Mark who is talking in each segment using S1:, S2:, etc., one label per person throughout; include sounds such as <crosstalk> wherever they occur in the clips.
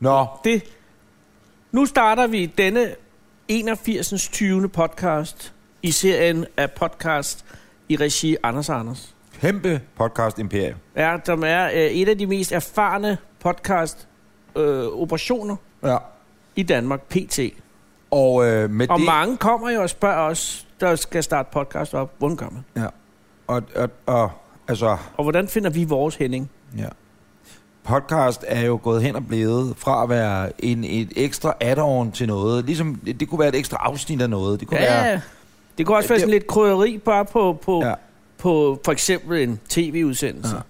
S1: Nå,
S2: Det. Nu starter vi denne 81. 20. podcast i serien af podcast i regi Anders og Anders.
S1: kæmpe podcast imperie.
S2: Ja, som er øh, et af de mest erfarne podcast øh, operationer
S1: Ja.
S2: i Danmark, PT.
S1: Og øh, med
S2: Og
S1: det...
S2: mange kommer jo og spørger os, der skal starte podcast op, hvordan gør man?
S1: Ja. Og, og, og altså,
S2: Og hvordan finder vi vores Henning?
S1: ja. podcast er jo gået hen og blevet fra at være en, et ekstra add-on til noget. Ligesom, det, det kunne være et ekstra afsnit af noget. Det kunne være...
S2: Det kunne også være
S1: Det-
S2: sådan lidt krydderi bare på, på,
S1: Ja.
S2: ja. på for eksempel en tv-udsendelse.
S1: Ja.
S2: Ja.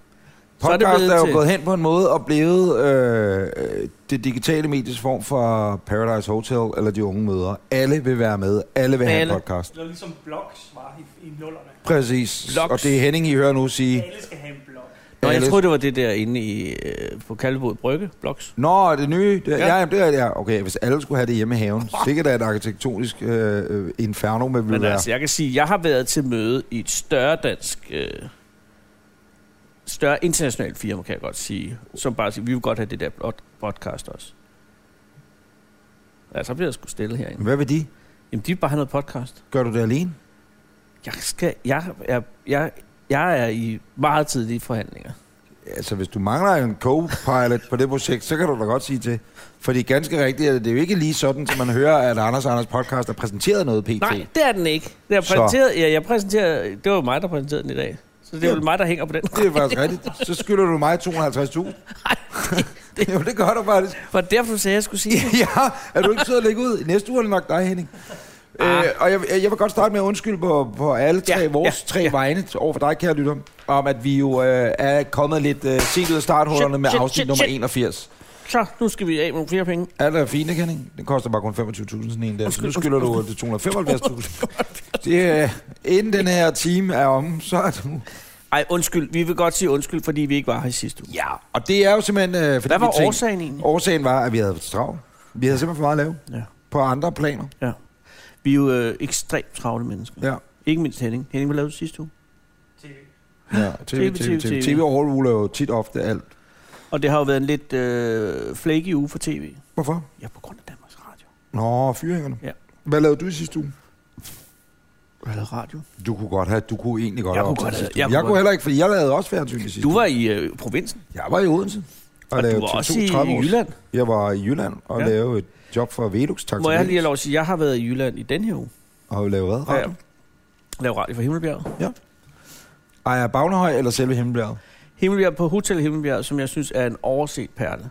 S2: Så er det
S1: Podcast er,
S2: blevet
S1: er jo
S2: til-
S1: gået hen på en måde og blevet øh, øh, det digitale medies form for Paradise Hotel eller De Unge Møder. Alle vil være med. Alle vil have
S2: Alle.
S1: en podcast.
S3: Eller ligesom blogs var i, i nullerne.
S1: Præcis.
S2: Loks.
S1: Og det er Henning, I hører nu sige...
S3: Alle skal have en blog.
S2: Nå, jeg
S1: alle-
S2: troede, det var det der inde i, øh, på Kalvebod Brygge, Bloks.
S1: Nå, er det nye? Det, ja.
S2: Ja.
S1: ja, jamen, det er ja. Okay, hvis alle skulle have det hjemme i haven, sikkert er et arkitektonisk øh, øh, inferno, men vil
S2: Men
S1: være.
S2: altså, jeg kan sige, jeg har været til møde i et større dansk, øh, større internationalt firma, kan jeg godt sige, som bare siger, vi vil godt have det der blot- podcast også. Ja, så bliver jeg sgu stille herinde.
S1: Hvad vil de?
S2: Jamen, de vil bare have noget podcast.
S1: Gør du det alene?
S2: Jeg, skal, jeg, jeg, jeg, jeg er i meget tidlige forhandlinger.
S1: Altså, hvis du mangler en co-pilot på det projekt, så kan du da godt sige til. For det er ganske rigtigt, at det er jo ikke lige sådan, som man hører, at Anders og Anders podcast har præsenteret noget pt.
S2: Nej, det er den ikke. Det er
S1: Så.
S2: præsenteret, ja, jeg præsenterer, det var jo mig, der præsenterede den i dag. Så det er jo
S1: Jamen.
S2: mig, der hænger på den.
S1: Det er faktisk rigtigt. Så skylder du mig
S2: <laughs>
S1: 250.000. <laughs> Jo, det gør du faktisk.
S2: Var det derfor, du sagde, jeg skulle sige det?
S1: <laughs> ja, er du ikke sød at lægge ud? Næste uge er det nok dig, Henning. Øh, og jeg, jeg vil godt starte med at undskylde på, på alle tre, ja,
S2: Ah. Ja,
S1: vores ja, tre ja. vegne over for dig, kære lytter, om at vi jo øh, er kommet lidt øh, sent ud af starthullerne
S2: Shit,
S1: med
S2: shit,
S1: afsnit
S2: shit,
S1: nummer
S2: shit.
S1: 81.
S2: Så, nu skal vi af med nogle flere penge.
S1: Alt er fint, ikke, Henning? Den koster bare kun 25.000 sådan en der, så nu skylder du øh, det
S2: <laughs>
S1: 275.000. Det, øh, inden den her time er om, så er du...
S2: Ej, undskyld. Vi vil godt sige undskyld, fordi vi ikke var her i sidste uge.
S1: Ja, og det er jo simpelthen... Øh, fordi
S2: Hvad var
S1: vi tænkte-
S2: årsagen egentlig?
S1: Årsagen var, at vi havde travlt. Vi havde simpelthen for meget at lave
S2: Ja.
S1: på andre planer.
S2: ja. Vi er jo øh, ekstremt travle mennesker.
S1: Ja.
S2: Ikke mindst Henning. Henning, hvad lavede du sidste uge?
S3: TV.
S2: <laughs>
S1: Ja, TV,
S2: TV,
S1: TV, TV.
S2: TV.
S1: TV overruler jo tit ofte alt.
S2: Og det har jo været en lidt øh, flaky uge for tv.
S1: Hvorfor?
S2: Ja, på grund af Danmarks Radio.
S1: Nå, fyringerne.
S2: Ja.
S1: Hvad lavede du i sidste uge?
S2: Hvad lavede radio?
S1: Du kunne godt have, du kunne egentlig godt
S2: Jeg
S1: have
S2: kunne
S1: optaget
S2: godt
S1: sidste
S2: have- jeg
S1: uge.
S2: kunne
S1: Jeg kunne
S2: godt-
S1: heller ikke, fordi jeg lavede også fjernsyn i sidste
S2: Du
S1: uge.
S2: var i øh, provinsen,
S1: Jeg var i Odense. Og,
S2: og du
S1: lavede
S2: var
S1: TV2
S2: også i
S1: 30 års.
S2: Jylland.
S1: Jeg var i Jylland og ja.
S2: Ja.
S1: lavede et job for Velux. Tak
S2: Må jeg lige have
S1: lave?
S2: lov at sige, at jeg har været i Jylland i den her uge.
S1: Og lavede hvad? Radio?
S2: Lav radio for Himmelbjerget.
S1: Ejer Bagnehøj eller selve Himmelbjerget?
S2: Himmelbjerg på Hotel Himmelbjerg, som jeg synes er en overset perle.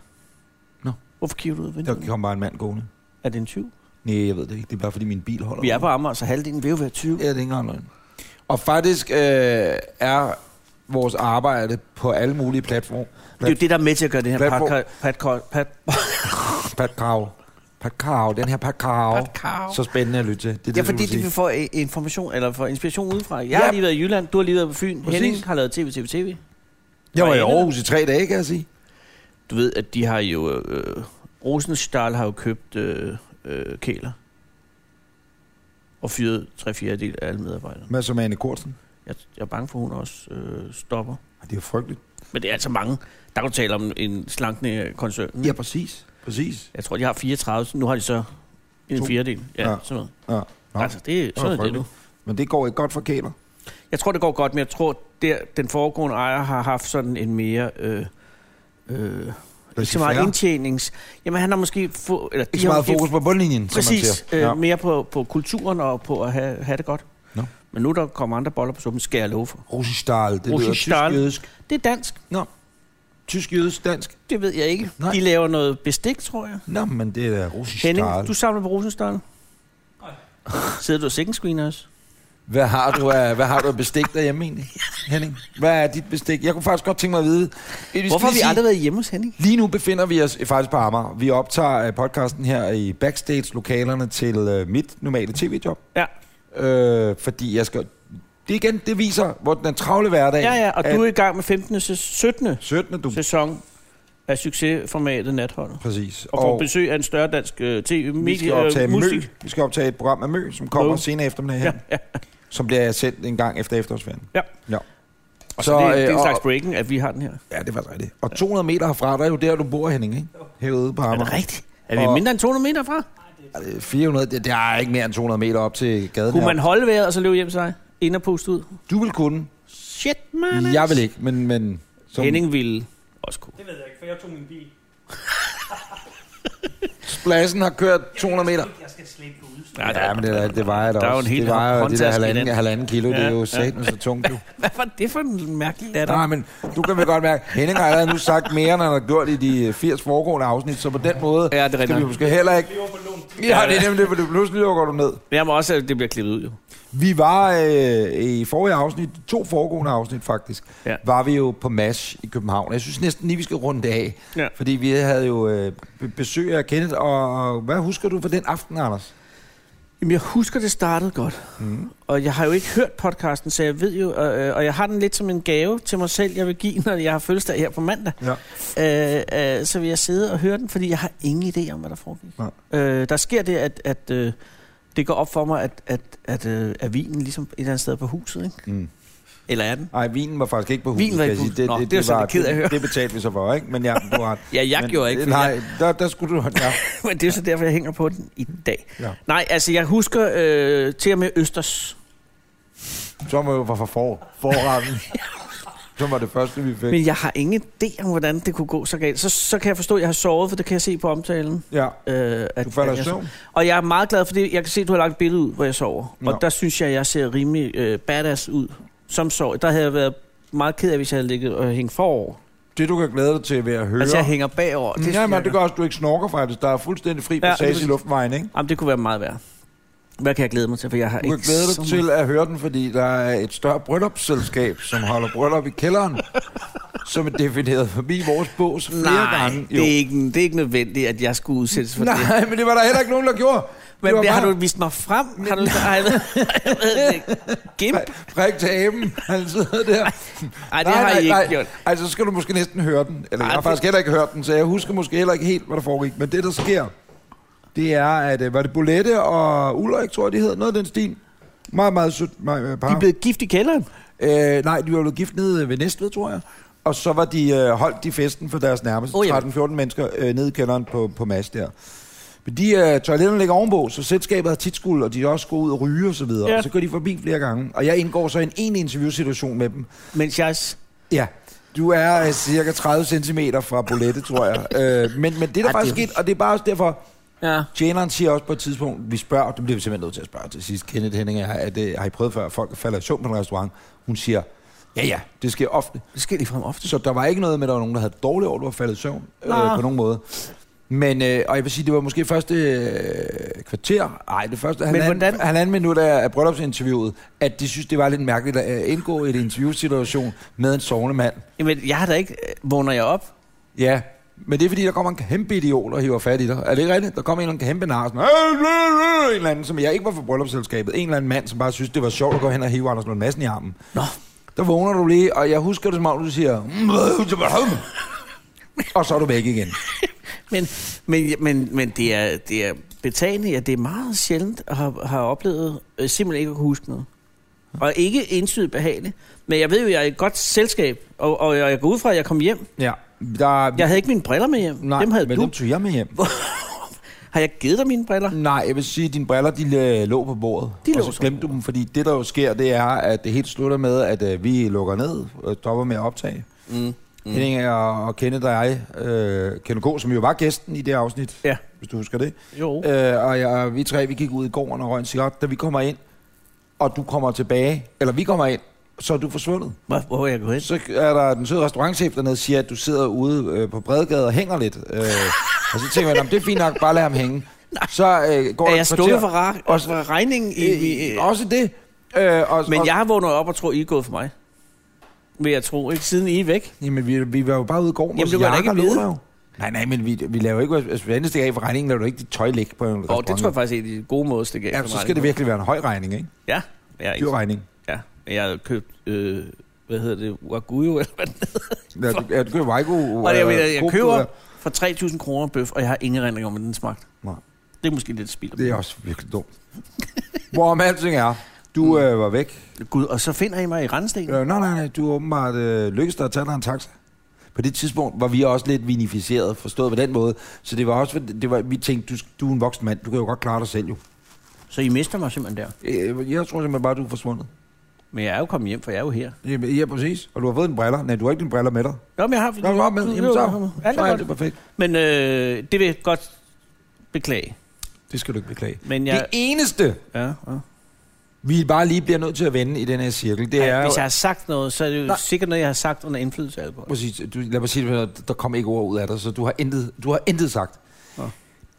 S1: Nå.
S2: Hvorfor kigger du ud af
S1: Der
S2: vinduet?
S1: kom bare en mand gående.
S2: Er det en 20?
S1: Nej, jeg ved det ikke. Det er bare fordi min bil holder.
S2: Vi er
S1: ude.
S2: på Amager, så halvdelen vil jo være 20.
S1: Ja, det er ikke engang løgn. Og faktisk øh, er vores arbejde på alle mulige platforme.
S2: Det er jo det, der er med til at gøre det her
S1: Platform.
S2: podcast. Podcast. Pat,
S1: Patkrav. Patkrav. Den her patkrav.
S2: Patkrav.
S1: Så spændende at lytte til. Det er det,
S2: ja,
S1: du
S2: fordi
S1: vil
S2: de
S1: sige.
S2: vil få øh, information, eller få inspiration udefra. Jeg
S1: Ja.
S2: har lige været i Jylland, du har lige været på Fyn.
S1: Præcis.
S2: Præcis. Henning har lavet TV, TV, TV.
S1: Jeg var i
S2: Marianne.
S1: Aarhus i tre dage, kan jeg sige.
S2: Du ved, at de har jo... Øh, Rosenstahl har jo købt øh, øh, kæler. Og fyret tre fjerdedel af alle medarbejderne.
S1: Med som Anne Kortsen.
S2: Jeg, jeg er bange for, at hun også øh, stopper.
S1: Ej, Det er jo frygteligt.
S2: Men det er altså mange. Der kan du tale om en slankning af koncernen.
S1: Ja, præcis. Præcis.
S2: Jeg tror, de har 34. Nu har de så en
S1: To.
S2: fjerdedel. Ja,
S1: Ja.
S2: ja. sådan noget.
S1: Ja. Nå,
S2: Altså, det, sådan er det nu.
S1: frygteligt. Men det går ikke godt for kæler.
S2: Jeg tror, det går godt, men jeg tror, der den foregående ejer har haft sådan en mere... Øh, øh, ikke så meget indtjenings... Jamen, han har måske... Få, eller de
S1: Ikke så
S2: har
S1: meget
S2: måske-
S1: fokus på bundlinjen, som man
S2: Præcis.
S1: siger.
S2: Øh,
S1: Ja.
S2: Mere på, på kulturen og på at have, have det godt.
S1: Nå.
S2: Men nu der kommer andre boller på suppen, skal jeg love for.
S1: Rosenstahl, det lyder
S2: Rosenstahl.
S1: tysk-jødisk.
S2: Det er dansk.
S1: Tysk-jødisk dansk.
S2: Det ved jeg ikke.
S1: Nej.
S2: Nej. De laver noget bestik, tror jeg.
S1: Nå, men det er
S2: Henning,
S1: Rosenstahl.
S2: du samler på Rosenstahl?
S3: Nej.
S2: Sidder du og second screen også?
S1: Hvad har du af, hvad har du af bestik derhjemme egentlig, Henning? Hvad er dit bestik? Jeg kunne faktisk godt tænke mig at vide. Vi skal
S2: Hvorfor har
S1: lige
S2: vi
S1: sige-
S2: aldrig været hjemme hos Henning?
S1: Lige nu befinder vi os eh, faktisk på Amager. Vi optager øh, podcasten her i backstage-lokalerne til øh, mit normale tv-job.
S2: Ja.
S1: Øh, fordi jeg skal... Det igen, det viser, hvor den er travle hverdag.
S2: Ja, ja, og
S1: at
S2: du er i gang med 15. til 17.
S1: 17. du...
S2: sæson af succesformatet Natholdet.
S1: Præcis.
S2: Og får besøg af en større dansk øh, tv
S1: vi skal optage
S2: medie øh,
S1: Mø.
S2: musik.
S1: Vi skal optage et program af Mø, som kommer
S2: Mø.
S1: senere eftermiddag her.
S2: Ja, ja.
S1: Som bliver sendt en gang efter efterårsferien.
S2: Ja.
S1: ja.
S2: Og så, så det,
S1: øh,
S2: Altså, det er en
S1: og-
S2: slags breaking, at vi har den her.
S1: Ja, det var rigtigt. Og 200 meter herfra, der er jo der, du bor, Henning, ikke?
S3: Jo.
S1: herude på
S2: Er
S1: Amager.
S2: det rigtigt? Er
S1: Og-
S2: vi
S1: mindre
S2: mindre end 200 meter fra?
S1: Ej, det er 400, det, det er ikke mere end 200 meter op til gaden
S2: Kunne
S1: her.
S2: man holde vejret og så løbe hjem til dig? Ind og puste ud?
S1: Du vil kunne.
S2: Shit, man.
S1: Jeg vil ikke, men... men
S2: Som... Henning ville også kunne.
S3: Det ved jeg ikke, for jeg tog min bil.
S1: Pladsen har kørt 200 meter.
S3: Jeg skal slippe ud.
S2: Ja,
S1: Ja, men det, er- det vejer da
S2: Der er jo
S1: også.
S2: en hel
S1: det vejer jo det
S2: håndtaske
S1: der
S2: i
S1: halvanden,
S2: den.
S1: halvanden kilo, ja, det er
S2: Ja,
S1: jo
S2: ja.
S1: satan så tungt. Du.
S2: Hvad var det for en mærkelig datter?
S1: <laughs> Nej, men du kan vel godt mærke, Henning har allerede nu sagt mere, end han har gjort i de 80 foregående afsnit, så på den måde
S2: Ja, det er
S1: kan vi
S2: rigtigt.
S1: måske heller ikke...
S3: Jeg lever på lån.
S1: Ja, det er nemlig det, for det pludselig lukker du ned.
S2: Jeg må også, at det bliver klippet ud, jo.
S1: Vi var øh, i forrige afsnit, to foregående afsnit faktisk, ja.
S2: Ja.
S1: var vi jo på MASH i København. Jeg synes næsten lige, vi skal runde det af,
S2: Ja.
S1: fordi vi havde jo øh, be- besøg af Kenneth, og, og hvad husker du fra den aften, Anders?
S2: Jamen, jeg husker, det startede godt. Mm. Og jeg har jo ikke hørt podcasten, så jeg ved jo, og, øh, og jeg har den lidt som en gave til mig selv, jeg vil give, når jeg har fødselsdag her på mandag.
S1: Ja.
S2: Øh, øh, så vil jeg sidde og høre den, fordi jeg har ingen idé om, hvad der foregik.
S1: Nej.
S2: Øh, der sker det, at, at øh, det går op for mig, at, at, at, øh, at vinen ligesom et eller andet sted er på huset, ikke?
S1: Mm.
S2: Eller er den?
S1: Nej, vinen var faktisk ikke på huset.
S2: Vinen var
S1: kan
S2: ikke på
S1: jeg sige.
S2: huset. Nå, det er jeg sådan lidt ked af at høre.
S1: det, det betalte vi så for, ikke? Men ja, du har ret.
S2: Ja, <laughs> jeg
S1: Men-
S2: gjorde ikke, for
S1: Nej, der, der skulle du... Ja.
S2: <laughs> Men det er jo så derfor, jeg hænger på den i dag.
S1: Ja.
S2: Ja. Nej, altså jeg husker øh, til og med Østers.
S1: Så var jo for, for for, forretten. Så var det første, vi fik.
S2: Men jeg har ingen idé om, hvordan det kunne gå så galt. Så, så kan jeg forstå, at jeg har sovet, for det kan jeg se på omtalen.
S1: Ja,
S2: Øh, at,
S1: du falder
S2: at
S1: i
S2: jeg,
S1: søvn.
S2: Og jeg er meget glad for det. Jeg kan se, at du har lagt et billede ud, hvor jeg sover.
S1: Nå.
S2: Og der synes jeg, at jeg ser rimelig øh, badass ud som sover. Der havde jeg været meget ked af, hvis jeg havde ligget og hængt forover.
S1: Det, du kan glæde dig til ved at høre...
S2: Altså, jeg hænger bagover.
S1: Det
S2: synes
S1: Mm, ja, men
S2: jeg
S1: det gør også, at du ikke snorker faktisk. Der er fuldstændig fri
S2: Ja,
S1: passage
S2: det er
S1: i luftvejen, ikke?
S2: Jamen, det kunne være meget værd. Hvad kan jeg glæde mig til, for jeg har
S1: Du
S2: ikke
S1: kan glæde dig
S2: så meget-
S1: til at høre den, fordi der er et større bryllupsselskab, som holder bryllup i
S2: <laughs>
S1: kælderen, som er defineret forbi vores bås flere
S2: Nej,
S1: gange.
S2: det er, ikke, det er ikke nødvendigt, at jeg skulle udsættes for det.
S1: Nej, men det var der heller ikke nogen, der gjorde.
S2: Men
S1: var
S2: det, har
S1: bare
S2: du vist mig frem? Har du, nej, jeg ved, jeg ved det ikke. Gimp?
S1: Frederik til aben, han sidder der.
S2: Ej, det har I ikke gjort.
S1: Ej, så skal du måske næsten høre den. Eller jeg
S2: Ej,
S1: har
S2: det-
S1: faktisk heller ikke hørt den, så jeg husker måske heller ikke helt, hvad der foregik. Men det, der sker, det er, at øh, var det Bolette og Ulrik, tror jeg, de hedder. Noget af den stil. Meget, meget sødt meget, øh, par.
S2: De er blevet gift i kælderen.
S1: Øh, nej, de var blevet gift nede ved Næstved, tror jeg. Og så var de, øh, holdt de festen for deres nærmeste
S2: Oh,
S1: oh,
S2: ja.
S1: 13-14 mennesker øh, nede i kælderen på, på Mads der. Men de øh, toiletterne ligger ovenpå, så selskabet har tit skuld, og de er også gået ud og ryge og så videre.
S2: Ja.
S1: Og så går de forbi flere gange. Og jeg indgår så i en en interviewsituation med dem.
S2: Mens jeg...
S1: Ja, du er øh, cirka 30 cm fra Bolette, tror jeg. Øh, men, men det, der
S2: det
S1: faktisk
S2: er-
S1: skete, og det er bare også derfor,
S2: Ja.
S1: Tjeneren siger også på et tidspunkt, vi spørger, det bliver vi simpelthen nødt til at spørge til sidst, Kenneth Henning, er, er det, har I prøvet før, at folk falder i søvn på en restaurant? Hun siger, ja ja, det sker ofte.
S2: Det sker ligefrem ofte.
S1: Så der var ikke noget med, at der var nogen, der havde dårlig over, at du var faldet i søvn øh,
S2: Nå.
S1: på nogen måde. Men, øh, og jeg vil sige, det var måske første øh, kvarter, nej, det første halvanden,
S2: hvordan-
S1: halvanden minut af, af bryllupsinterviewet, at de synes, det var lidt mærkeligt at øh, indgå i en interviewsituation med en sovende mand.
S2: Jamen, jeg har da ikke... øh, Vågner jeg op?
S1: Ja, men det er fordi, der kommer en kæmpe idiot og hiver fat i dig. Er det ikke rigtigt? Der kommer en eller anden kæmpe nar, sådan, "Øh, øh, øh," en eller anden, som jeg ikke var for bryllupsselskabet. En eller anden mand, som bare synes, det var sjovt at gå hen og hive Anders Lund Madsen i armen.
S2: Nå.
S1: Der vågner du lige, og jeg husker det som om, du siger, "Mm, øh, det var ham." og så er du væk igen.
S2: Men, men, men, men det er, det er betagende, at det er meget sjældent at have, have oplevet øh, simpelthen ikke at kunne huske noget. Og ikke entydigt behageligt. Men jeg ved jo, jeg er i et godt selskab, og, og jeg jeg går ud fra, at jeg kom hjem.
S1: Ja. Der,
S2: Jeg havde ikke mine briller med hjem.
S1: nej,
S2: dem havde
S1: men
S2: du.
S1: dem tog jeg med hjem.
S2: Har jeg givet dig mine briller?
S1: Nej, jeg vil sige, at dine briller de øh, lå på bordet.
S2: De
S1: og
S2: lå
S1: så
S2: på
S1: glemte du dem, fordi det, der jo sker, det er, at det helt slutter med, at øh, vi lukker ned og stopper med at optage. Mm. Mm. Henning og, og Kenneth og jeg, øh, Kenneth K., som jo var gæsten i det afsnit,
S2: Ja.
S1: hvis du husker det.
S2: Jo.
S1: Øh, og jeg, og vi tre, vi gik ud i gården og røg en cigaret. Da vi kommer ind, og du kommer tilbage, eller vi kommer ind, så er du forsvundet.
S2: Hvor, hvor er jeg gået hen?
S1: Så er der den søde restaurantchef dernede, siger, at du sidder ude øh, på Bredegade og hænger lidt. Øh, og så tænker jeg, "Nå, men det er fint nok, bare lad ham
S2: <laughs>
S1: hænge. Så øh, går
S2: Er
S1: der
S2: jeg
S1: et
S2: stukket
S1: kvarter-
S2: for, ra-
S1: Også-
S2: også for regningen? I, i, i,
S1: Øh, også det. Øh, og,
S2: men
S1: og,
S2: jeg har vågnet op og tror, I er gået for mig. Vil jeg tro, ikke? Siden I er væk.
S1: Jamen, vi, vi var jo bare ude i går. vores
S2: Jamen, det kunne jeg da
S1: jakker
S2: ikke
S1: lå
S2: vide.
S1: der jo. Nej, nej, men vi, vi laver ikke... Altså, vi andet af for regningen, laver du ikke dit tøj ligge på en
S2: Og det tror jeg faktisk er en af de gode måder at stikke af.
S1: Ja, så
S2: for
S1: skal
S2: regningen.
S1: det virkelig være en høj regning, ikke?
S2: Ja, jeg er ikke.
S1: Dyr regning.
S2: Ja, men jeg havde købt, øh, hvad hedder det, Wagyu, <laughs> eller hvad det
S1: Ja, du, ja, du køber Vejgo.
S2: Og jeg, jeg, jeg køber for 3.000 kroner bøf, og jeg har ingen rendring om, hvordan den smagte.
S1: Nej.
S2: Det er måske lidt spild.
S1: Det er også virkelig dumt. Hvorom alting er,
S2: Mm.
S1: du øh, var væk.
S2: Gud, og så finder I mig i Randsten. Ja.
S1: Øh, nej, nej, nej, du er åbenbart øh, lykkedes dig at tage dig en taxa. på det tidspunkt var vi også lidt vinificeret, forstået på den måde. Så det var også, det var, vi tænkte, du, du er en voksen mand, du kan jo godt klare dig selv jo.
S2: Så I mister mig simpelthen der.
S1: Øh, Jeg tror simpelthen bare, du er forsvundet.
S2: Men jeg er jo kommet hjem, for jeg er jo her.
S1: Jamen, ja, præcis. Og du har fået en briller. Nej, du har ikke dine briller med dig.
S2: Nå, men jeg har...
S1: Nå, du har med. Jamen, så,
S2: Alt
S1: så
S2: er
S1: er
S2: godt.
S1: det perfekt.
S2: Men øh, det vil jeg godt beklage.
S1: Det skal du ikke beklage.
S2: Men
S1: Ja. Det
S2: jeg...
S1: eneste,
S2: Ja, ja.
S1: vi bare lige bliver nødt til at vende i den her cirkel, det
S2: Ej,
S1: er...
S2: Hvis jeg har sagt noget, så er det jo
S1: Nej.
S2: sikkert noget, jeg har sagt under indflydelse af alkohol.
S1: Præcis. Du, lad mig sige det, for der kom ikke ord ud af dig, så du har intet, du har intet sagt.
S2: Nå.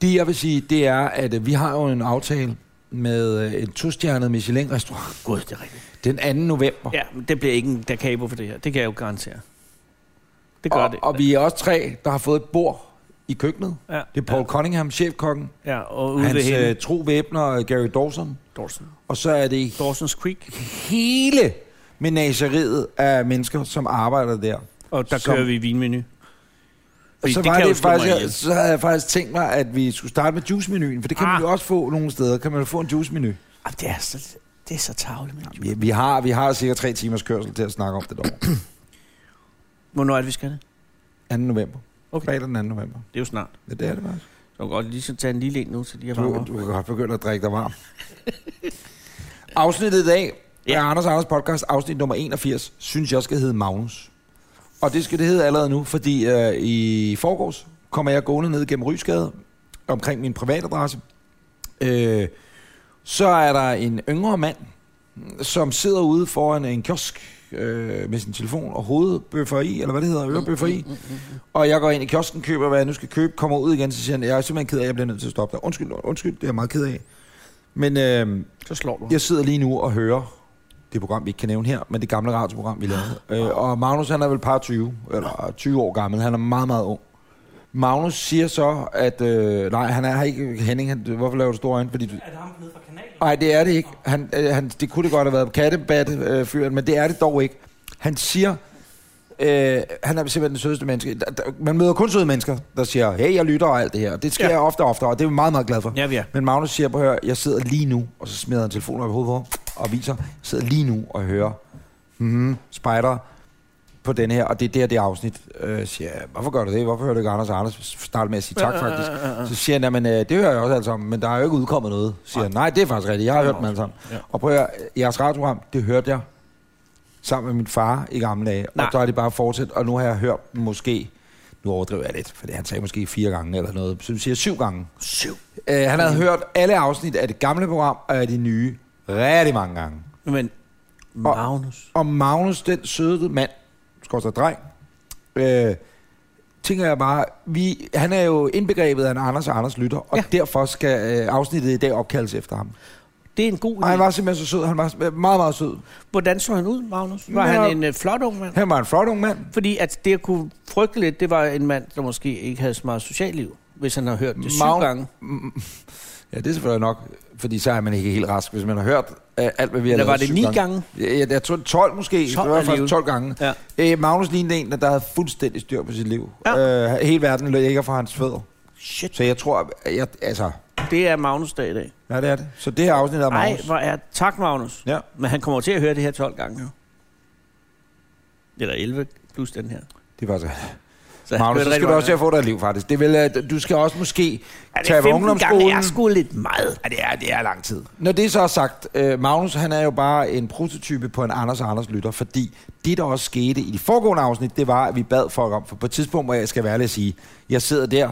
S1: Det, jeg vil sige, det er, at øh, vi har jo en aftale med øh, en tostjernet Michelin-restaurant
S2: Gud, det er rigtigt.
S1: den 2. november.
S2: Ja, men det bliver ikke en der kabo for det her. Det kan jeg jo garantere. Det gør
S1: og,
S2: det.
S1: og vi er også tre, der har fået et bord i køkkenet.
S2: ja,
S1: Det er Paul Cunningham, chefkokken,
S2: Ja, ja og ude ved
S1: hans
S2: hele
S1: øh, tro væbner, Gary Dawson,
S2: Dawson.
S1: og så er det
S2: Dawson's Creek.
S1: hele menageriet af mennesker, som arbejder der.
S2: Og der
S1: Som-
S2: kører vi vinmenu.
S1: Og
S2: Fordi
S1: så,
S2: det
S1: var
S2: kan jo
S1: det
S2: slå mig
S1: faktisk,
S2: ihjel.
S1: jeg, så havde jeg faktisk tænkt mig, at vi skulle starte med juice-menuen, for det kan ah.
S2: Ah.
S1: man jo også få nogle steder. Kan man jo få en juice-menu?
S2: Jamen, Ah, det er så, det er så tavligt, men.
S1: Vi, vi, har, vi har cirka tre timers kørsel til at snakke om det dog. 2.
S2: Hvornår er det, vi skal det?
S1: november.
S2: Okay.
S1: Fredag den 2. november.
S2: Det er jo snart.
S1: Ja, det er det faktisk.
S2: Så kan godt lige så tage en lille en nu, så de har
S1: Du,
S2: varmet
S1: du kan godt begynde at drikke dig varm. Afsnittet i dag ja.
S2: Ja.
S1: er Anders og Anders podcast, afsnit nummer 81, synes jeg skal hedde Magnus. Og det skal det hedde allerede nu, fordi øh, i forgårs kommer jeg gående ned gennem Rysgade omkring min privatadresse. Øh, så er der en yngre mand, som sidder ude foran en kiosk øh, med sin telefon og hovedbøffer i, eller hvad det hedder, ørebøffer i. Og jeg går ind i kiosken, køber, hvad jeg nu skal købe, kommer ud igen, så siger han, jeg er simpelthen ked af, at jeg bliver nødt til at stoppe dig. Undskyld, undskyld, det er jeg meget ked af. Men øh,
S2: Så slår du.
S1: jeg sidder lige nu og hører det program, vi ikke kan nævne her, men det gamle radioprogram, vi lavede. Øh, og Magnus, han er vel par 20, eller 20 år gammel. Han er meget, meget ung. Magnus siger så, at... Øh, nej, han er her ikke. Henning, han, hvorfor laver du store øjne? Fordi du,
S3: Er det ham nede fra kanalen?
S1: Nej, det er det ikke. Han, øh, han, det kunne det godt have været kattebatte øh, fyren, men det er det dog ikke. Han siger, øh, han er simpelthen den sødeste menneske. Der, der, man møder kun søde mennesker, der siger, hey, jeg lytter og alt det her. Det sker
S2: Ja.
S1: ja. ofte og ofte, og det er vi meget, meget glad for.
S2: Ja, vi er.
S1: Men Magnus siger, på hør, jeg sidder lige nu, og så smider han telefonen op i hovedet på ham, og viser, jeg sidder lige nu og hører, hmm, spider på den her, og det er der, det afsnit. Øh, siger jeg, hvorfor gør du det? Hvorfor hører du ikke Anders og Anders starte med at sige tak, faktisk? Så siger han, jamen, øh, det hører jeg også alt sammen, men der er jo ikke udkommet noget. Siger han, nej, det er faktisk rigtigt, jeg har hørt dem alle sammen.
S2: Ja.
S1: Og prøv at høre, jeres radioprogram, det hørte jeg sammen med min far i gamle dage. Nej.
S2: Nej.
S1: Og så er det bare fortsat, og nu har jeg hørt dem måske, nu overdriver jeg lidt, for han sagde måske fire gange eller noget, så vi siger syv gange.
S2: Syv.
S1: Øh, han havde
S2: Mm.
S1: hørt alle afsnit af det gamle program og af de nye rigtig mange gange.
S2: Men Magnus.
S1: Og Magnus, den søde mand, skorstræk dreng, øh, tænker jeg bare, vi, han er jo indbegrebet af en Anders og Anders Lytter, og ja.
S2: Ja.
S1: derfor skal øh, afsnittet i dag opkaldes efter ham.
S2: Det er en god
S1: Og han
S2: idé.
S1: var simpelthen så sød, han var meget, meget sød.
S2: Hvordan så han ud, Magnus? Var
S1: Men jeg-
S2: han en øh, flot ung mand?
S1: Han var en flot ung
S2: <laughs>
S1: mand.
S2: Fordi at det, jeg kunne frygte lidt, det var en mand, der måske ikke havde så meget socialliv, hvis han har hørt det syv
S1: Magn-
S2: gange.
S1: Mm, Ja, det er selvfølgelig nok, fordi så er man ikke helt rask, hvis man har hørt øh, alt, hvad vi har
S2: Eller
S1: lavet
S2: var det
S1: syv
S2: ni gange?
S1: Ja, jeg, jeg tror 12 måske. 12
S2: 12
S1: det var faktisk
S2: alligevel.
S1: 12 gange.
S2: Ja.
S1: Øh, Magnus lignede en, der havde fuldstændig styr på sit liv. Ja. Øh, hele verden ligger fra hans fødder.
S2: Shit,
S1: Så jeg tror, at jeg, altså,
S2: det er Magnus dag i dag.
S1: ja, det er det. Så det her afsnit er
S2: Nej,
S1: Magnus.
S2: hvor er... Tak, Magnus.
S1: Ja.
S2: Men han kommer til at høre det her 12 gange, jo. Eller 11 plus den her.
S1: Det var så.
S2: Så han
S1: Magnus,
S2: hørte
S1: så
S2: rigtig
S1: skal du
S2: mange
S1: også til at få dig et liv, faktisk. Det vil, at du skal også måske
S2: gange.
S1: tage
S2: Ja, det
S1: på
S2: 15 gange er
S1: ungdomsskolen.
S2: sgu lidt meget.
S1: Ja, det er, det er lang tid. Når det så er sagt, øh, Magnus han er jo bare en prototype på en Anders og Anders lytter, fordi det, der også skete i de foregående afsnit, det var, at vi bad folk om, for på et tidspunkt, hvor jeg skal være ærlig at sige, jeg sidder der,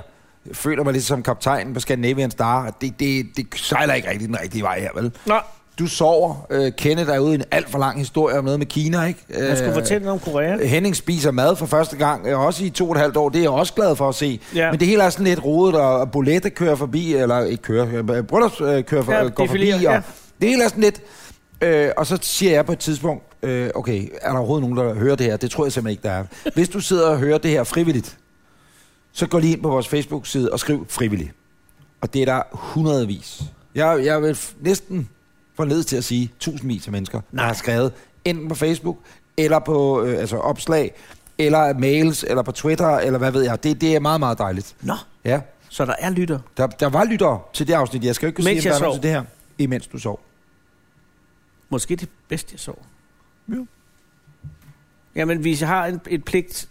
S1: føler mig lidt som kaptajnen på Scandinavian Star, og det, det, det sejler ikke rigtig den rigtige vej her, vel?
S2: Nå,
S1: Du sover, øh, Kenneth er ude i en alt for lang historie om noget med Kina, ikke?
S2: han skulle
S1: Øh,
S2: fortælle noget om Korea.
S1: Henning spiser mad for første gang, øh, også i to og et halvt år. Det er jeg også glad for at se. Ja.
S2: Ja.
S1: Men det hele er sådan lidt rodet, og Bolette kører forbi, eller ikke kører, øh, Bryllups øh, kører for,
S2: Ja,
S1: ja, går forbi,
S2: defilerer,
S1: og ja.
S2: ja.
S1: det hele er sådan lidt... Øh, og så siger jeg på et tidspunkt, øh, okay, er der overhovedet nogen, der hører det her? Det tror jeg simpelthen ikke, der er. Hvis du sidder og hører det her frivilligt, så gå lige ind på vores Facebook-side og skriv frivillig. Og det er der hundredvis. Jeg, jeg vil f- næsten forledes til at sige tusindvis af mennesker, der
S2: Nej.
S1: har skrevet enten på Facebook, eller på øh, altså opslag, eller mails, eller på Twitter, eller hvad ved jeg. Det, det er meget, meget dejligt.
S2: Nå,
S1: Ja,
S2: så der er lytter.
S1: der, der var lyttere til det afsnit. Jeg skal jo ikke
S2: Mens
S1: sige,
S2: jeg
S1: om der er nogen
S2: sov.
S1: til det her. Imens du sov.
S2: Måske det bedste, jeg så.
S1: Jo.
S2: Jamen, vi har en, et pligt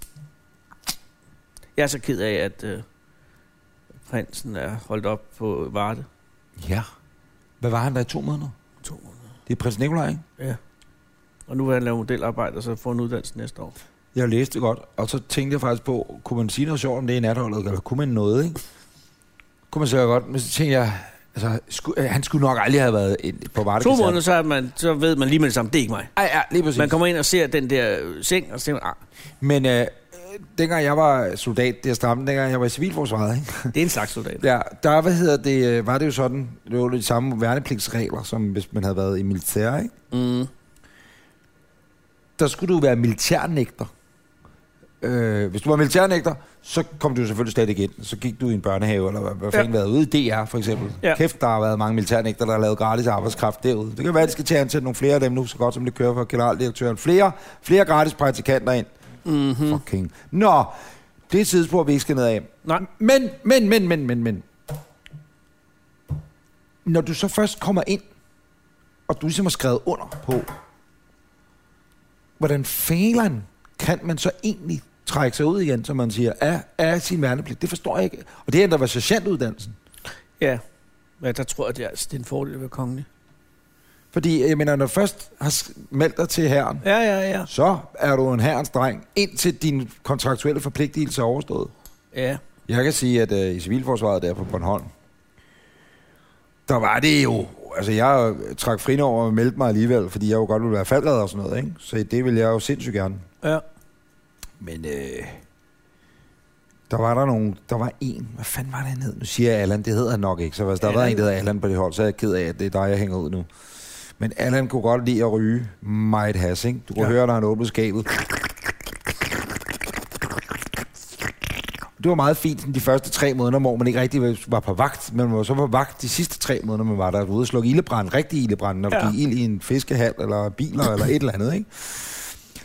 S2: Jeg er så ked af, at øh, prinsen er holdt op på Varde.
S1: Ja. Hvad var han der i to måneder?
S2: To
S1: Det er prins Nikolaj, ikke?
S2: Ja. Og nu vil han lave modelarbejde, og så få en uddannelse næste år.
S1: Jeg læste det godt, og så tænkte jeg faktisk på, kunne man sige noget sjovt om det i natholdet, eller kunne man noget, ikke? Kunne man sige godt, men så tænkte jeg, altså, sku, øh, han skulle nok aldrig have været ind på Varde
S2: To
S1: Kaserne.
S2: måneder, så, er man, så ved man lige med det samme, det er ikke mig.
S1: Ej, ja, lige præcis.
S2: Man kommer ind og ser den der øh, seng, og så tænker man, ah,
S1: Men øh, øh, dengang jeg var soldat, det er stramme, dengang jeg var i civilforsvaret, ikke?
S2: det er en slags soldat.
S1: Ja, der hvad hedder det, øh, var det jo sådan, det var jo de samme værnepligtsregler, som hvis man havde været i militær, ikke?
S2: Mm.
S1: Der skulle du være militærnægter. Øh, hvis du var militærnægter, så kom du jo selvfølgelig slet ikke ind. Så gik du i en børnehave, eller hvad, hvad
S2: Ja.
S1: fanden ja. været ude i DR, for eksempel. Ja.
S2: Ja.
S1: Kæft, der har været mange militærnægter, der har lavet gratis arbejdskraft derude. Det kan være, at de skal til at ansætte nogle flere af dem nu, så godt som det kører for generaldirektøren. Flere, flere gratis praktikanter ind.
S2: Mm-hmm.
S1: Fucking. Nå, det er et sidespor, vi ikke skal ned af.
S2: Nej.
S1: Men, men, men, men, men, men. Når du så først kommer ind, og du ligesom har skrevet under på, hvordan fælen kan man så egentlig trække sig ud igen, som man siger, af, af sin værnepligt? Det forstår jeg ikke. Og det er endda var sergeantuddannelsen.
S2: Ja. ja, der tror jeg, det er, altså, det er en fordel ved kongen.
S1: Fordi, jeg mener, når du først har s- meldt dig til herren,
S2: Ja, ja, ja.
S1: så er du en herrens dreng, indtil din kontraktuelle forpligtelse er overstået.
S2: Ja,
S1: Jeg kan sige, at øh, i Civilforsvaret der på Bornholm, der var det jo... Altså, jeg øh, trak frin over og meldte mig alligevel, fordi jeg jo godt ville være faldleder og sådan noget, ikke? Så det ville jeg jo sindssygt gerne.
S2: ja.
S1: Men øh, der var der nogen... Der var en... Hvad fanden var det, han hed? Nu siger jeg Allan, det hedder han nok ikke. Så hvis der var
S2: Allan?
S1: en, der hedder Allan på det hold, så er jeg ked af, at det er dig, jeg hænger ud nu. Men Allan kunne godt lide at ryge meget has, ikke? Du kunne ja.
S2: Ja.
S1: høre, når han åbnede skabet. Det var meget fint sådan de første tre måneder, hvor man ikke rigtig var på vagt, men man var så på vagt de sidste tre måneder, man var der ude og slukke ildebrand, rigtig ildebrand, når der ja.
S2: Ja.
S1: gik ild i en fiskehal eller biler eller et eller andet, ikke?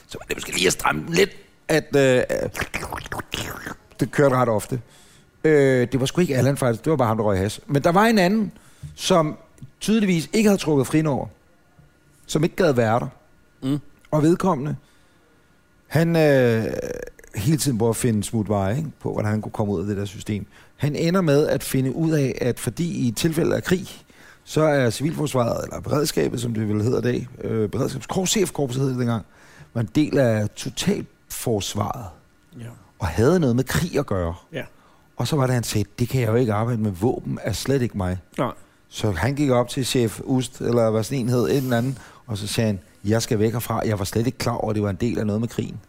S1: Så var det måske lige at stramme den lidt, at øh, det kørte ret ofte. Øh, det var sgu ikke Allan faktisk, det var bare ham, der røg has. Men der var en anden, som tydeligvis ikke havde trukket frin over, som ikke gad være der.
S2: Mm.
S1: Og vedkommende, han øh, hele tiden prøver at finde smutveje ikke? på, hvordan han kunne komme ud af det der system. Han ender med at finde ud af, at fordi i tilfælde af krig, så er civilforsvaret, eller beredskabet, som det vel hedder i dag, øh, beredskabskorps, CF-korpset hed det dengang, var en del af totalforsvaret
S2: ja.
S1: og havde noget med krig at gøre.
S2: ja.
S1: Og så var det, han sagde, det kan jeg jo ikke arbejde med. Våben er slet ikke mig.
S2: Nej.
S1: Så han gik op til chef Ust, eller hvad sådan en hed, en eller anden, og så sagde han, jeg skal væk herfra. Jeg var slet ikke klar over, at det var en del af noget med krigen.